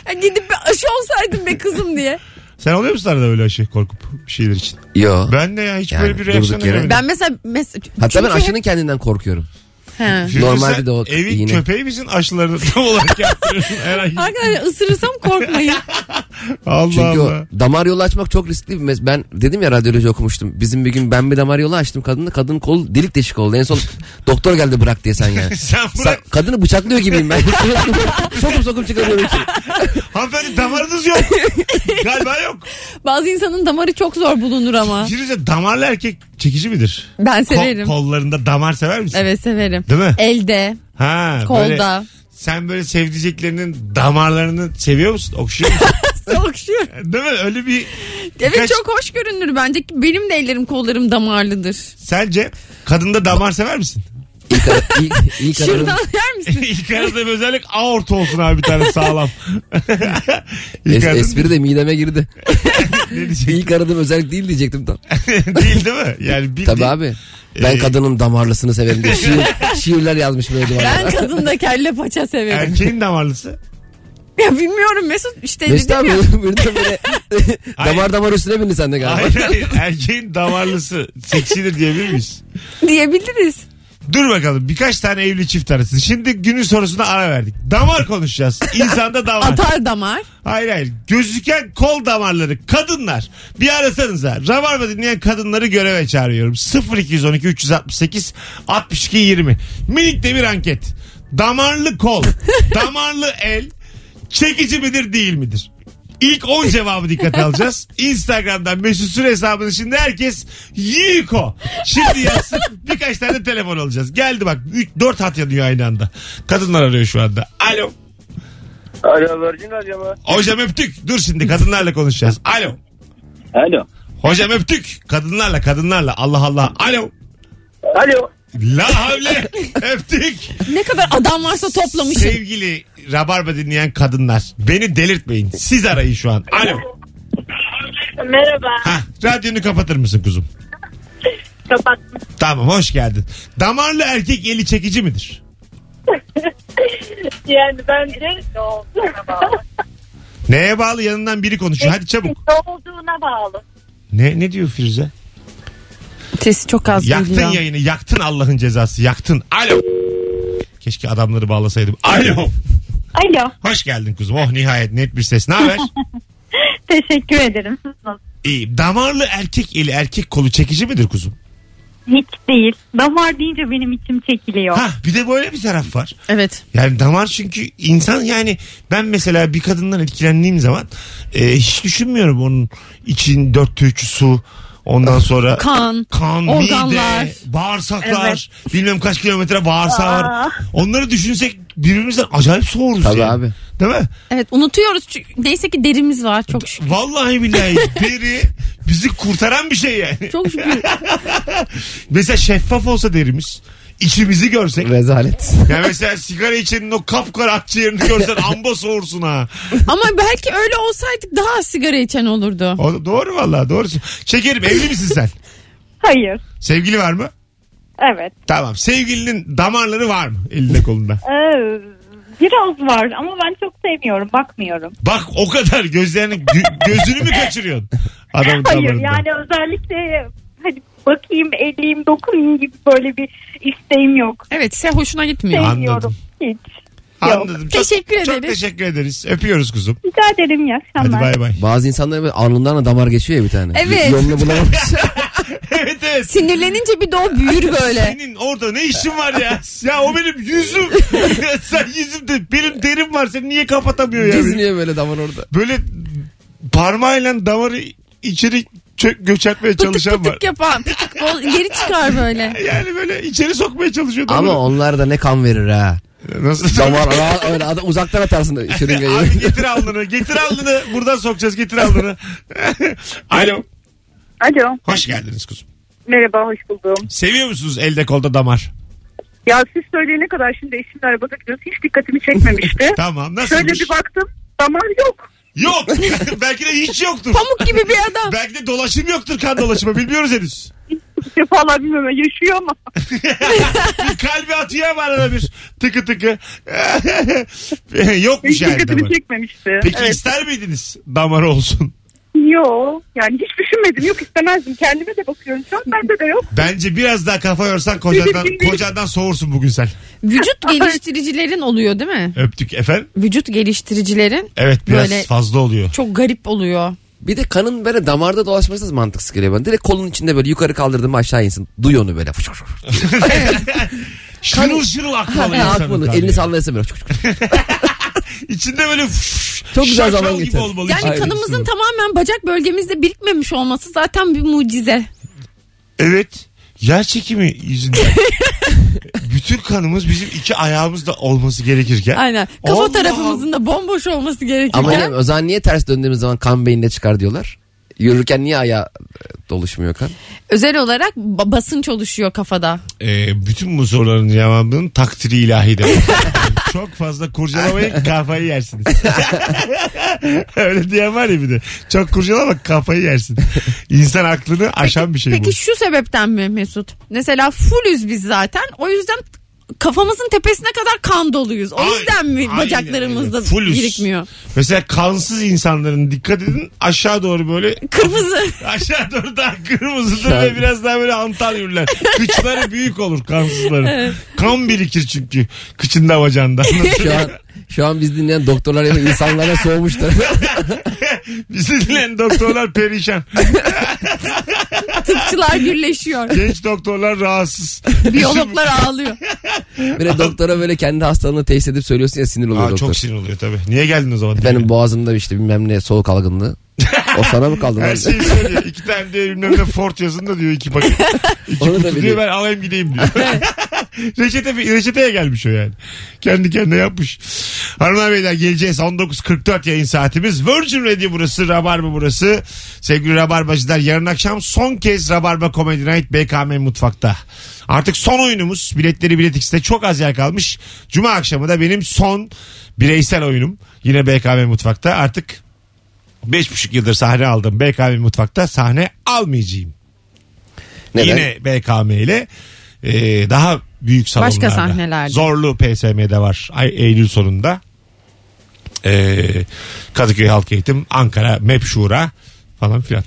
[SPEAKER 3] Ya gidip bir aşı olsaydım be kızım diye.
[SPEAKER 2] Sen oluyor musun arada öyle şey korkup bir şeyler için?
[SPEAKER 4] Yo.
[SPEAKER 2] Ben de ya hiç
[SPEAKER 4] Yani
[SPEAKER 2] böyle bir
[SPEAKER 4] durduk
[SPEAKER 2] reaksiyon
[SPEAKER 4] yere-
[SPEAKER 2] veremedim.
[SPEAKER 3] Ben mesela... mesela
[SPEAKER 4] Hatta ben
[SPEAKER 3] çünkü-
[SPEAKER 4] aşının kendinden korkuyorum.
[SPEAKER 3] He.
[SPEAKER 2] Firuze
[SPEAKER 4] Normalde
[SPEAKER 2] sen
[SPEAKER 4] de o
[SPEAKER 2] evin
[SPEAKER 4] iğne.
[SPEAKER 2] köpeği misin aşılarını tam olarak yaptırıyorsun herhangi.
[SPEAKER 3] Arkadaşlar ısırırsam korkmayın.
[SPEAKER 2] Allah
[SPEAKER 4] Çünkü
[SPEAKER 2] Allah.
[SPEAKER 4] o damar yolu açmak çok riskli bir mes- Ben dedim ya radyoloji okumuştum. Bizim bir gün ben bir damar yolu açtım kadını. Kadının kolu delik deşik oldu. En son doktor geldi bırak diye sen yani.
[SPEAKER 2] Sen
[SPEAKER 4] Sen,
[SPEAKER 2] bırak.
[SPEAKER 4] kadını bıçaklıyor gibiyim ben. sokup sokup çıkarıyorum.
[SPEAKER 2] Hanımefendi damarınız yok. Galiba yok.
[SPEAKER 3] Bazı insanın damarı çok zor bulunur ama.
[SPEAKER 2] Firuze damarlı erkek çekici midir?
[SPEAKER 3] Ben
[SPEAKER 2] Ko-
[SPEAKER 3] Ah. severim.
[SPEAKER 2] kollarında damar sever misin?
[SPEAKER 3] Evet severim.
[SPEAKER 2] Değil mi?
[SPEAKER 3] Elde,
[SPEAKER 2] Ha, Böyle,
[SPEAKER 3] kolda.
[SPEAKER 2] sen böyle sevdiceklerinin damarlarını seviyor musun? Okşuyor musun?
[SPEAKER 3] Okşuyor.
[SPEAKER 2] Değil mi? Öyle bir
[SPEAKER 3] Evet
[SPEAKER 2] Kaç-
[SPEAKER 3] çok hoş görünür bence. Benim de ellerim kollarım damarlıdır.
[SPEAKER 2] sence kadında damar sever misin?
[SPEAKER 4] İlk, ara, ilk, ilk ararım.
[SPEAKER 3] Şuradan yer misin?
[SPEAKER 2] İlk arada bir özellik aort olsun abi bir tane sağlam. İlk
[SPEAKER 4] Es,
[SPEAKER 2] arada
[SPEAKER 4] espri de mideme girdi.
[SPEAKER 2] ne diyecek?
[SPEAKER 4] İlk aradığım özellik değil diyecektim tam.
[SPEAKER 2] değil değil mi? Yani bildiğin-
[SPEAKER 4] Tabii abi. Ben
[SPEAKER 2] Ee,
[SPEAKER 4] kadının damarlısını severim diye şiir, şiirler yazmış böyle duvarlara.
[SPEAKER 3] Ben kadında kelle paça severim.
[SPEAKER 2] Erkeğin damarlısı.
[SPEAKER 3] ya bilmiyorum Mesut işte
[SPEAKER 4] Mesut
[SPEAKER 3] dedim
[SPEAKER 4] abi
[SPEAKER 3] ya.
[SPEAKER 4] birden böyle damar damar üstüne bindi sen de galiba.
[SPEAKER 2] Hayır hayır. Erkeğin damarlısı seksidir diyebilir miyiz?
[SPEAKER 3] Diyebiliriz.
[SPEAKER 2] Dur bakalım birkaç tane evli çift arası. Şimdi günün sorusuna ara verdik. Damar konuşacağız. İnsanda damar.
[SPEAKER 3] Atar damar.
[SPEAKER 2] Hayır hayır. Gözüken kol damarları kadınlar. Bir arasanıza. Rabarba dinleyen kadınları göreve çağırıyorum. 0212 368 62 20. Minik de bir anket. Damarlı kol, damarlı el çekici midir değil midir? İlk 10 cevabı dikkate alacağız. Instagram'dan Mesut Süre hesabının şimdi herkes Yiko. Şimdi yazsın birkaç tane telefon alacağız. Geldi bak 4 hat yanıyor aynı anda. Kadınlar arıyor şu anda. Alo.
[SPEAKER 6] Alo Virgin Radyo mu?
[SPEAKER 2] Hocam öptük. Dur şimdi kadınlarla konuşacağız. Alo.
[SPEAKER 6] Alo.
[SPEAKER 2] Hocam öptük. Kadınlarla kadınlarla. Allah Allah. Alo.
[SPEAKER 6] Alo.
[SPEAKER 2] La havle. öptük.
[SPEAKER 3] Ne kadar adam varsa toplamışım.
[SPEAKER 2] Sevgili Rabarba dinleyen kadınlar. Beni delirtmeyin. Siz arayın şu an. Alo.
[SPEAKER 7] Merhaba.
[SPEAKER 2] Hah, radyonu kapatır mısın kuzum?
[SPEAKER 7] Kapattım.
[SPEAKER 2] Tamam hoş geldin. Damarlı erkek eli çekici midir?
[SPEAKER 7] Yani bence ne
[SPEAKER 2] Neye bağlı yanından biri konuşuyor. Hadi çabuk.
[SPEAKER 7] olduğuna bağlı.
[SPEAKER 2] Ne ne diyor Firuze?
[SPEAKER 3] Sesi çok az
[SPEAKER 2] Yaktın
[SPEAKER 3] geliyor.
[SPEAKER 2] yayını. Yaktın Allah'ın cezası. Yaktın. Alo. Keşke adamları bağlasaydım. Alo.
[SPEAKER 7] Alo.
[SPEAKER 2] Hoş geldin kuzum. Oh nihayet net bir ses. Ne haber?
[SPEAKER 7] Teşekkür ederim. Siz nasılsınız?
[SPEAKER 2] İyi. Damarlı erkek eli erkek kolu çekici midir kuzum?
[SPEAKER 7] Hiç değil. Damar deyince benim içim çekiliyor.
[SPEAKER 2] Ha bir de böyle bir taraf var.
[SPEAKER 3] Evet.
[SPEAKER 2] Yani damar çünkü insan yani ben mesela bir kadından etkilendiğim zaman e, hiç düşünmüyorum onun için dörtte üçü su ondan sonra
[SPEAKER 3] Kan.
[SPEAKER 2] kan,
[SPEAKER 3] organlar.
[SPEAKER 2] mide, bağırsaklar, bilmem kaç kilometre bağırsağı var. Onları düşünsek birbirimizden acayip soğuruz
[SPEAKER 4] Tabii
[SPEAKER 2] yani.
[SPEAKER 4] abi.
[SPEAKER 2] Değil mi?
[SPEAKER 3] Evet unutuyoruz. Çünkü Neyse ki derimiz var çok şükür.
[SPEAKER 2] Vallahi billahi deri bizi kurtaran bir şey yani.
[SPEAKER 3] Çok şükür.
[SPEAKER 2] Mesela şeffaf olsa derimiz içimizi görsek.
[SPEAKER 4] Rezalet.
[SPEAKER 2] Ya mesela sigara içenin o kapkara akciğerini görsen amba soğursun ha.
[SPEAKER 3] Ama belki öyle olsaydık daha az sigara içen olurdu.
[SPEAKER 2] O da doğru vallahi doğru. Şekerim evli misin sen?
[SPEAKER 7] Hayır.
[SPEAKER 2] Sevgili var mı?
[SPEAKER 7] Evet.
[SPEAKER 2] Tamam. Sevgilinin damarları var mı elinde kolunda?
[SPEAKER 7] Ee, biraz var ama ben çok sevmiyorum. Bakmıyorum.
[SPEAKER 2] Bak o kadar gözlerini gö- gözünü mü kaçırıyorsun? Adamın
[SPEAKER 7] Hayır
[SPEAKER 2] damarında.
[SPEAKER 7] yani özellikle hadi bakayım, edeyim, dokunayım gibi böyle bir isteğim yok.
[SPEAKER 3] Evet size hoşuna gitmiyor.
[SPEAKER 2] Anladım.
[SPEAKER 7] Sevmiyorum. Hiç.
[SPEAKER 2] Anladım. Çok,
[SPEAKER 3] Teşekkür
[SPEAKER 2] Çok
[SPEAKER 3] ederiz.
[SPEAKER 2] teşekkür ederiz. Öpüyoruz kuzum.
[SPEAKER 7] Rica ederim iyi
[SPEAKER 2] Hadi
[SPEAKER 7] akşamlar.
[SPEAKER 2] bay bay.
[SPEAKER 4] Bazı insanların böyle alnından da damar geçiyor ya bir tane.
[SPEAKER 3] Evet.
[SPEAKER 4] Yolunu bulamamış.
[SPEAKER 2] evet evet.
[SPEAKER 3] Sinirlenince bir de o büyür böyle.
[SPEAKER 2] Senin orada ne işin var ya? Ya o benim yüzüm. Sen yüzümde benim derim var. Sen niye kapatamıyor ya? beni?
[SPEAKER 4] Geziniyor böyle damar orada.
[SPEAKER 2] böyle parmağıyla damarı içeri çö- göçertmeye
[SPEAKER 3] Pıtık
[SPEAKER 2] çalışan var.
[SPEAKER 3] pıtık yapan. Pıtık bol, geri çıkar böyle.
[SPEAKER 2] Yani böyle içeri sokmaya çalışıyor.
[SPEAKER 4] Ama
[SPEAKER 2] doğru.
[SPEAKER 4] onlar da ne kan verir ha.
[SPEAKER 2] Nasıl?
[SPEAKER 4] Damar rahat- öyle adam uzaktan atarsın şırıngayı.
[SPEAKER 2] Abi getir alnını. Getir alnını. Buradan sokacağız. Getir alnını. Alo.
[SPEAKER 7] Alo.
[SPEAKER 2] Hoş geldiniz kuzum.
[SPEAKER 7] Merhaba hoş buldum.
[SPEAKER 2] Seviyor musunuz elde kolda damar?
[SPEAKER 7] Ya siz söyleyene kadar şimdi eşimle arabada gidiyoruz. Hiç dikkatimi çekmemişti.
[SPEAKER 2] Tamam.
[SPEAKER 7] Şöyle
[SPEAKER 2] Nasılmış?
[SPEAKER 7] bir baktım damar yok.
[SPEAKER 2] Yok. Belki de hiç yoktur.
[SPEAKER 3] Pamuk gibi bir adam.
[SPEAKER 2] Belki de dolaşım yoktur kan dolaşımı. Bilmiyoruz henüz.
[SPEAKER 7] Defalar bilmem ne, yaşıyor ama.
[SPEAKER 2] Bir kalbi atıyor ama arada bir tıkı tıkı. Yokmuş
[SPEAKER 7] Hiç
[SPEAKER 2] yani
[SPEAKER 7] dikkatimi
[SPEAKER 2] damar.
[SPEAKER 7] çekmemişti.
[SPEAKER 2] şey Peki
[SPEAKER 7] evet.
[SPEAKER 2] ister miydiniz damar olsun?
[SPEAKER 7] Yok. Yani hiç düşünmedim. Yok istemezdim. Kendime de bakıyorum. Şu an bende de yok.
[SPEAKER 2] Bence biraz daha kafa yorsan kocandan, kocandan soğursun bugün sen.
[SPEAKER 3] Vücut geliştiricilerin oluyor değil mi?
[SPEAKER 2] Öptük efendim.
[SPEAKER 3] Vücut geliştiricilerin
[SPEAKER 2] Evet biraz
[SPEAKER 3] Böyle-
[SPEAKER 2] fazla oluyor.
[SPEAKER 3] çok garip oluyor.
[SPEAKER 4] bir de kanın böyle damarda dolaşması da mantıksız geliyor bana. Direkt kolun içinde böyle yukarı kaldırdım aşağı insin. Duy onu böyle. Hani-
[SPEAKER 2] Şırıl şırıl akmalı
[SPEAKER 4] Ne
[SPEAKER 2] insanın
[SPEAKER 4] yapmanı?
[SPEAKER 2] kanı
[SPEAKER 4] Elini
[SPEAKER 2] ya.
[SPEAKER 4] sallayasın böyle.
[SPEAKER 2] İçinde böyle
[SPEAKER 4] Çok güzel
[SPEAKER 2] şakal
[SPEAKER 4] zaman
[SPEAKER 2] gibi
[SPEAKER 4] geçer.
[SPEAKER 2] olmalı.
[SPEAKER 3] Yani
[SPEAKER 2] içinde.
[SPEAKER 4] Aynen.
[SPEAKER 3] kanımızın tamamen bacak bölgemizde birikmemiş olması zaten bir mucize.
[SPEAKER 2] Evet. Yer çekimi yüzünden. Bütün kanımız bizim iki ayağımızda olması gerekirken.
[SPEAKER 3] Aynen. Kafa
[SPEAKER 2] E, Allah
[SPEAKER 3] tarafımızın da bomboş olması gerekirken.
[SPEAKER 4] Ama ne, o zaman niye ters döndüğümüz zaman kan beyinde çıkar diyorlar? Yürürken niye ayağa e, doluşmuyor kan?
[SPEAKER 3] Özel olarak ba- basınç oluşuyor kafada.
[SPEAKER 2] Ee, bütün bu soruların cevabının takdiri ilahidir. Çok fazla kurcalamayın kafayı yersiniz. Öyle diyen var ya bir de. Çok kurcalama kafayı yersin. İnsan aklını aşan bir şey
[SPEAKER 3] Peki
[SPEAKER 2] bu.
[SPEAKER 3] şu sebepten mi Mesut? Mesela fullüz biz zaten. O yüzden kafamızın tepesine kadar kan doluyuz. O
[SPEAKER 2] Ay-
[SPEAKER 3] yüzden mi
[SPEAKER 2] aynen
[SPEAKER 3] bacaklarımızda
[SPEAKER 2] öyle. Fullüz.
[SPEAKER 3] birikmiyor?
[SPEAKER 2] Mesela kansız insanların dikkat edin aşağı doğru böyle
[SPEAKER 3] Kırmızı.
[SPEAKER 2] aşağı doğru daha kırmızıdır ve biraz daha böyle antal yürürler. Kıçları büyük olur kansızların. Kan birikir çünkü kıçında bacağında.
[SPEAKER 4] Şu an şu an biz dinleyen doktorlar ya da insanlara soğumuştur.
[SPEAKER 2] Bizi dinleyen doktorlar perişan.
[SPEAKER 3] Tıpçılar gürleşiyor.
[SPEAKER 2] Genç doktorlar rahatsız.
[SPEAKER 3] Biyologlar ağlıyor.
[SPEAKER 4] bir de doktora böyle kendi hastalığını teşhis edip söylüyorsun ya sinir oluyor
[SPEAKER 2] Aa,
[SPEAKER 4] doktor.
[SPEAKER 2] çok sinir oluyor tabii. Niye geldin o zaman?
[SPEAKER 4] Benim boğazımda işte bilmem ne soğuk algınlığı. O sana mı kaldı?
[SPEAKER 2] Her şey
[SPEAKER 4] lan?
[SPEAKER 2] şeyi söylüyor. İki tane diye bilmem ne Ford yazın da diyor iki paket. İki
[SPEAKER 4] Onu da
[SPEAKER 2] kutu diyor
[SPEAKER 4] biliyorum.
[SPEAKER 2] ben alayım gideyim diyor. Reçete, reçeteye gelmiş o yani. Kendi kendine yapmış. Hanımlar beyler geleceğiz. 19.44 yayın saatimiz. Virgin Radio burası. Rabarba burası. Sevgili Rabarbacılar yarın akşam son kez Rabarba Comedy Night BKM Mutfak'ta. Artık son oyunumuz. Biletleri Bilet X'te çok az yer kalmış. Cuma akşamı da benim son bireysel oyunum. Yine BKM Mutfak'ta. Artık Beş buçuk yıldır sahne aldım. BKM mutfakta sahne almayacağım.
[SPEAKER 4] Neden?
[SPEAKER 2] Yine BKM ile e, daha büyük salonlarda.
[SPEAKER 3] Başka sahnelerde.
[SPEAKER 2] Zorlu PSM'de var. Ay, Eylül sonunda. E, Kadıköy Halk Eğitim, Ankara, MEP Şura falan filan.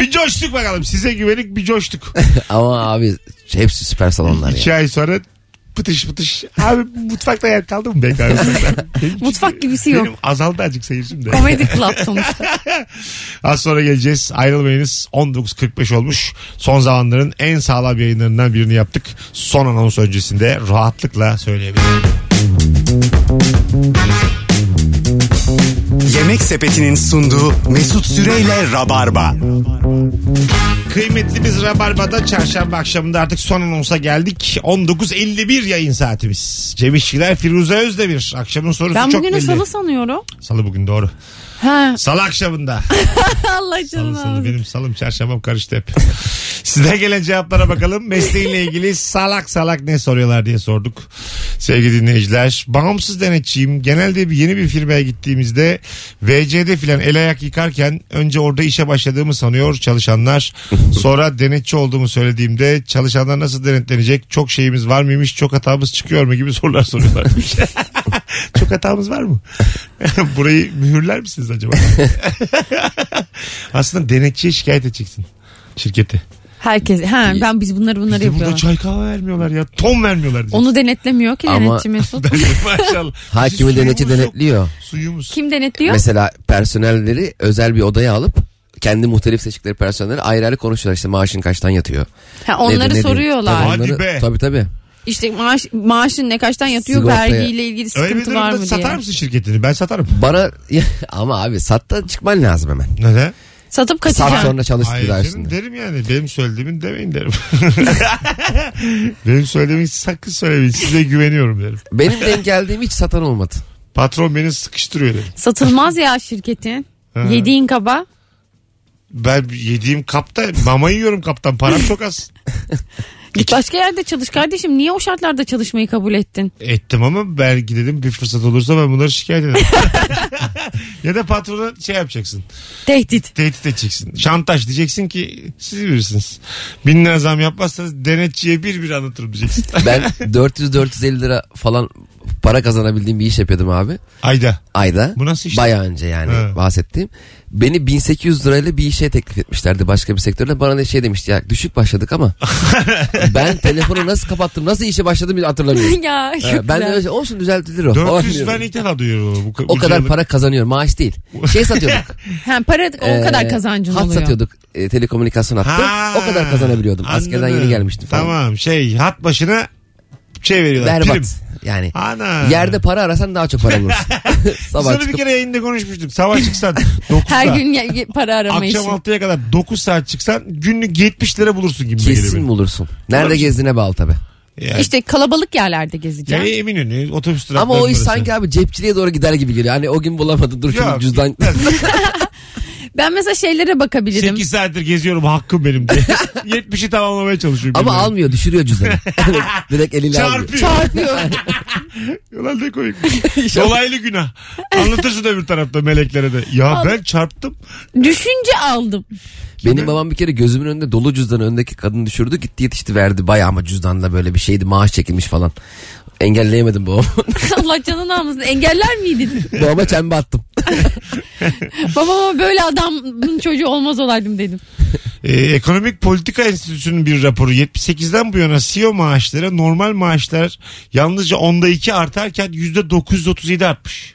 [SPEAKER 2] bir coştuk bakalım. Size güvenip bir coştuk.
[SPEAKER 4] Ama abi hepsi süper salonlar ya.
[SPEAKER 2] İki ay sonra pıtış pıtış. Abi mutfakta yer kaldı mı BKM? mutfakta? Benim-
[SPEAKER 3] Mutfak gibisi yok.
[SPEAKER 2] Benim azaldı acık seyircim de.
[SPEAKER 3] Comedy Club sonuçta.
[SPEAKER 2] Az sonra geleceğiz. Ayrılmayınız. 19.45 olmuş. Son zamanların en sağlam yayınlarından birini yaptık. Son anons öncesinde rahatlıkla söyleyebilirim.
[SPEAKER 1] Yemek Sepeti'nin sunduğu Mesut Süreyle Rabarba.
[SPEAKER 2] Kıymetli biz Rabarba'da çarşamba akşamında artık son anonsa geldik. 19.51 yayın saatimiz. Cem İşçiler Firuze Özdemir. Akşamın sorusu
[SPEAKER 3] Ben
[SPEAKER 2] çok
[SPEAKER 3] bugünü
[SPEAKER 2] belli.
[SPEAKER 3] salı sanıyorum.
[SPEAKER 2] Salı bugün doğru.
[SPEAKER 3] Ha.
[SPEAKER 2] Salı akşamında.
[SPEAKER 3] Allah
[SPEAKER 2] Salı
[SPEAKER 3] canına.
[SPEAKER 2] salı
[SPEAKER 3] alsın.
[SPEAKER 2] benim salım çarşambam karıştı hep. Sizden gelen cevaplara bakalım. Mesleğinle ilgili salak salak ne soruyorlar diye sorduk. Sevgili dinleyiciler. Bağımsız denetçiyim. Genelde bir yeni bir firmaya gittiğimizde VC'de filan el ayak yıkarken önce orada işe başladığımı sanıyor çalışanlar. Sonra denetçi olduğumu söylediğimde çalışanlar nasıl denetlenecek? Çok şeyimiz var mıymış? Çok hatamız çıkıyor mu? Gibi sorular soruyorlar. Çok hatamız var mı? Burayı mühürler misiniz acaba? Aslında denetçiye şikayet edeceksin şirketi.
[SPEAKER 3] Herkes. Ha, ben biz bunları bunları
[SPEAKER 2] Bize burada
[SPEAKER 3] yapıyoruz.
[SPEAKER 2] çay kahve vermiyorlar ya. Ton vermiyorlar diyeceksin.
[SPEAKER 3] Onu denetlemiyor ki
[SPEAKER 4] Ama-
[SPEAKER 3] denetçi Mesut.
[SPEAKER 2] Maşallah.
[SPEAKER 4] Hakimi
[SPEAKER 2] Bizim
[SPEAKER 4] denetçi
[SPEAKER 2] suyumuz yok.
[SPEAKER 4] denetliyor.
[SPEAKER 2] Suyumuz.
[SPEAKER 3] Kim denetliyor?
[SPEAKER 4] Mesela personelleri özel bir odaya alıp kendi muhtelif seçtikleri personelleri ayrı ayrı konuşuyorlar işte maaşın kaçtan yatıyor.
[SPEAKER 3] Ha, onları
[SPEAKER 4] Nedir, nedir?
[SPEAKER 3] soruyorlar.
[SPEAKER 4] Tabii,
[SPEAKER 2] Hadi
[SPEAKER 4] onları-
[SPEAKER 2] be.
[SPEAKER 4] Tabii tabii.
[SPEAKER 3] İşte maaş, maaşın ne kaçtan yatıyor
[SPEAKER 4] Sigortaya.
[SPEAKER 3] vergiyle ilgili
[SPEAKER 2] Öyle bir
[SPEAKER 3] sıkıntı var
[SPEAKER 2] durumda
[SPEAKER 3] mı
[SPEAKER 2] satar
[SPEAKER 3] diye.
[SPEAKER 2] mısın şirketini? Ben satarım.
[SPEAKER 4] Bana ama abi satta çıkman lazım hemen.
[SPEAKER 2] Neden?
[SPEAKER 3] Satıp
[SPEAKER 4] Saat
[SPEAKER 3] kaçacaksın.
[SPEAKER 4] sonra çalıştı
[SPEAKER 2] Hayır canım,
[SPEAKER 4] dersinde.
[SPEAKER 2] derim yani benim söylediğimi demeyin derim. benim söylediğimi sakın söylemeyin size güveniyorum derim.
[SPEAKER 4] Benim denk geldiğim hiç satan olmadı.
[SPEAKER 2] Patron beni sıkıştırıyor derim.
[SPEAKER 3] Satılmaz ya şirketin.
[SPEAKER 2] Ha.
[SPEAKER 3] Yediğin kaba.
[SPEAKER 2] Ben yediğim kapta mama yiyorum kaptan param çok az.
[SPEAKER 3] Git başka yerde çalış kardeşim. Niye o şartlarda çalışmayı kabul ettin?
[SPEAKER 2] Ettim ama belki dedim bir fırsat olursa ben bunları şikayet ederim. ya da patrona şey yapacaksın.
[SPEAKER 3] Tehdit.
[SPEAKER 2] Tehdit edeceksin. Şantaj diyeceksin ki siz bilirsiniz. Bin lira zam yapmazsanız denetçiye bir bir anlatırım diyeceksin.
[SPEAKER 4] Ben 400-450 lira falan para kazanabildiğim bir iş yapıyordum abi.
[SPEAKER 2] Ayda.
[SPEAKER 4] Ayda.
[SPEAKER 2] Bu nasıl iş?
[SPEAKER 4] Bayağı önce yani
[SPEAKER 2] He.
[SPEAKER 4] bahsettiğim. Beni 1800 lirayla bir işe teklif etmişlerdi başka bir sektörle. Bana da şey demişti ya düşük başladık ama ben telefonu nasıl kapattım nasıl işe başladım bile hatırlamıyorum.
[SPEAKER 3] ya
[SPEAKER 4] Ee,
[SPEAKER 3] yok
[SPEAKER 4] ben de
[SPEAKER 3] lan.
[SPEAKER 4] öyle şey, olsun düzeltilir o. falan
[SPEAKER 2] 400
[SPEAKER 4] diyorum.
[SPEAKER 2] ben ilk defa duyuyorum. Bu,
[SPEAKER 4] o
[SPEAKER 2] bu
[SPEAKER 4] kadar
[SPEAKER 2] yıllık-
[SPEAKER 4] para kazanıyorum maaş değil. Şey satıyorduk.
[SPEAKER 3] Ha, para o kadar
[SPEAKER 4] Ee,
[SPEAKER 3] kazancın
[SPEAKER 4] hat
[SPEAKER 3] oluyor.
[SPEAKER 4] satıyorduk. E, telekomünikasyon hattı.
[SPEAKER 2] Ha,
[SPEAKER 4] o kadar kazanabiliyordum. Askerden
[SPEAKER 2] anladım.
[SPEAKER 4] yeni gelmiştim falan.
[SPEAKER 2] Tamam şey hat başına şey veriyorlar.
[SPEAKER 4] Berbat.
[SPEAKER 2] Prim.
[SPEAKER 4] Yani
[SPEAKER 2] Ana.
[SPEAKER 4] yerde para arasan daha çok para bulursun.
[SPEAKER 2] Biz
[SPEAKER 4] Sabah
[SPEAKER 2] onu bir
[SPEAKER 4] çıkıp
[SPEAKER 2] kere yayında konuşmuştuk. Sabah çıksan 9
[SPEAKER 3] Her
[SPEAKER 2] saat.
[SPEAKER 3] gün ye- ye- para arama
[SPEAKER 2] Akşam
[SPEAKER 3] işi.
[SPEAKER 2] 6'ya kadar 9 saat çıksan günlük 70 lira bulursun gibi geliyor
[SPEAKER 4] kesin
[SPEAKER 2] benim.
[SPEAKER 4] bulursun. Nerede gezdiğine bağlı tabi.
[SPEAKER 2] Yani,
[SPEAKER 3] İşte kalabalık yerlerde gezeceğim.
[SPEAKER 2] yani Eminönü otobüs durakları.
[SPEAKER 4] Ama o iş
[SPEAKER 2] burası.
[SPEAKER 4] sanki abi cepçiliğe doğru gider gibi geliyor. Hani o gün bulamadın dur
[SPEAKER 2] şey. Yok,
[SPEAKER 4] şunu cüzdan.
[SPEAKER 3] Ben mesela şeylere bakabilirim.
[SPEAKER 2] 8 saattir geziyorum hakkım benim diye. 70'i tamamlamaya çalışıyorum.
[SPEAKER 4] Ama
[SPEAKER 2] Bilmiyorum.
[SPEAKER 4] almıyor düşürüyor cüzdanı. Direkt eliyle alıyor.
[SPEAKER 2] Çarpıyor.
[SPEAKER 3] Çarpıyor.
[SPEAKER 2] Ulan ne komik. Dolaylı günah. Anlatırsın öbür tarafta meleklere de. Ya ben çarptım.
[SPEAKER 3] Düşünce aldım.
[SPEAKER 4] Benim babam bir kere gözümün önünde dolu cüzdanı öndeki kadın düşürdü. Gitti yetişti verdi. Bayağı ama cüzdanda böyle bir şeydi maaş çekilmiş falan. Engelleyemedim babamı.
[SPEAKER 3] Allah canını almasın. Engeller miydin?
[SPEAKER 4] babama çembe attım.
[SPEAKER 3] Babama böyle adamın çocuğu olmaz olaydım dedim.
[SPEAKER 2] Ee, Ekonomik Politika Enstitüsü'nün bir raporu 78'den bu yana CEO maaşları normal maaşlar yalnızca onda 2 artarken %937 artmış.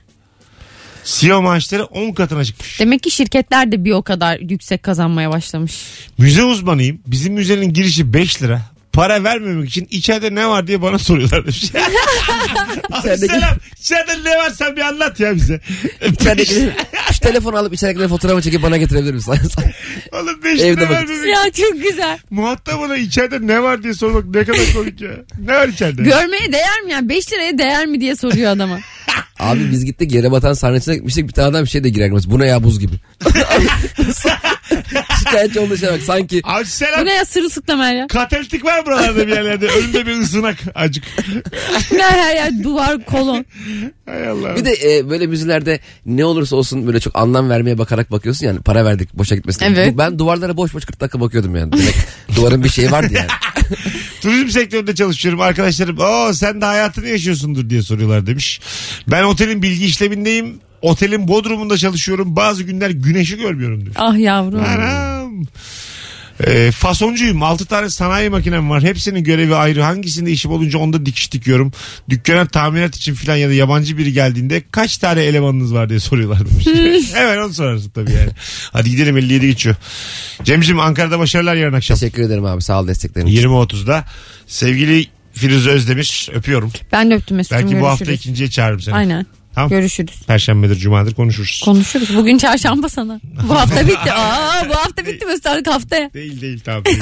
[SPEAKER 2] CEO maaşları 10 katına çıkmış.
[SPEAKER 3] Demek ki şirketler de bir o kadar yüksek kazanmaya başlamış.
[SPEAKER 2] Müze uzmanıyım. Bizim müzenin girişi 5 lira. Para vermemek için içeride ne var diye bana soruyorlar demiş. Abi
[SPEAKER 4] İçerideki-
[SPEAKER 2] selam. İçeride ne var sen bir anlat ya bize.
[SPEAKER 4] İçeridekileri- şu telefonu alıp içeridekileri fotoğrafı çekip bana getirebilir misin?
[SPEAKER 2] Oğlum 5
[SPEAKER 4] Evde
[SPEAKER 2] lira
[SPEAKER 4] bakın.
[SPEAKER 2] vermemek
[SPEAKER 3] Ya çok güzel.
[SPEAKER 2] Muhatabına içeride ne var diye sormak ne kadar komik ya. Ne var içeride?
[SPEAKER 3] Görmeye değer mi yani? 5 liraya değer mi diye soruyor adama.
[SPEAKER 4] Abi biz gittik yere batan sarnıçına gitmiştik bir tane adam şey de girermiş. Bu ne ya buz gibi. Şikayetçi olduğu şey bak sanki
[SPEAKER 2] Abi selam.
[SPEAKER 3] Bu ne ya sırılsıklama ya?
[SPEAKER 2] Katalitik var buralarda bir yerlerde. Önünde bir ısınak acık.
[SPEAKER 3] Bu ne her yer duvar kolon.
[SPEAKER 2] Hay Allah.
[SPEAKER 4] bir de e, böyle müzelerde ne olursa olsun böyle çok anlam vermeye bakarak bakıyorsun yani para verdik boşa gitmesin.
[SPEAKER 3] Evet.
[SPEAKER 4] Bu- Ben duvarlara boş boş 40 dakika bakıyordum yani. Demek duvarın bir şeyi vardı yani.
[SPEAKER 2] Turizm sektöründe çalışıyorum arkadaşlarım. Oo sen de hayatını yaşıyorsundur diye soruyorlar demiş. Ben otelin bilgi işlemindeyim. Otelin bodrumunda çalışıyorum. Bazı günler güneşi görmüyorum demiş.
[SPEAKER 3] Ah yavrum.
[SPEAKER 2] Anam. Ee, fasoncuyum. 6 tane sanayi makinem var. Hepsinin görevi ayrı. Hangisinde işim olunca onda dikiş dikiyorum. Dükkana tamirat için filan ya da yabancı biri geldiğinde kaç tane elemanınız var diye soruyorlar demiş. Hemen onu sorarsın tabii yani. Hadi gidelim 57 geçiyor. Cemciğim Ankara'da başarılar yarın akşam.
[SPEAKER 4] Teşekkür ederim abi sağ ol desteklerin. için.
[SPEAKER 2] 20.30'da. Sevgili Firuze Özdemir öpüyorum.
[SPEAKER 3] Ben de öptüm Mesut'cum.
[SPEAKER 2] Belki bu hafta
[SPEAKER 3] görüşürüz.
[SPEAKER 2] ikinciye çağırırım seni.
[SPEAKER 3] Aynen.
[SPEAKER 2] Tamam.
[SPEAKER 3] Görüşürüz.
[SPEAKER 2] Perşembedir, cumadır konuşuruz.
[SPEAKER 3] Konuşuruz. Bugün çarşamba sana. Bu hafta bitti. Aa, bu hafta bitti Mesut artık haftaya.
[SPEAKER 2] Değil değil tamam. değil.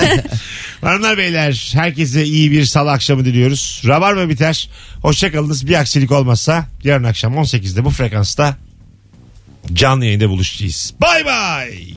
[SPEAKER 2] Hanımlar beyler herkese iyi bir salı akşamı diliyoruz. Rabarba biter. Hoşçakalınız. Bir aksilik olmazsa yarın akşam 18'de bu frekansta canlı yayında buluşacağız. Bay bay.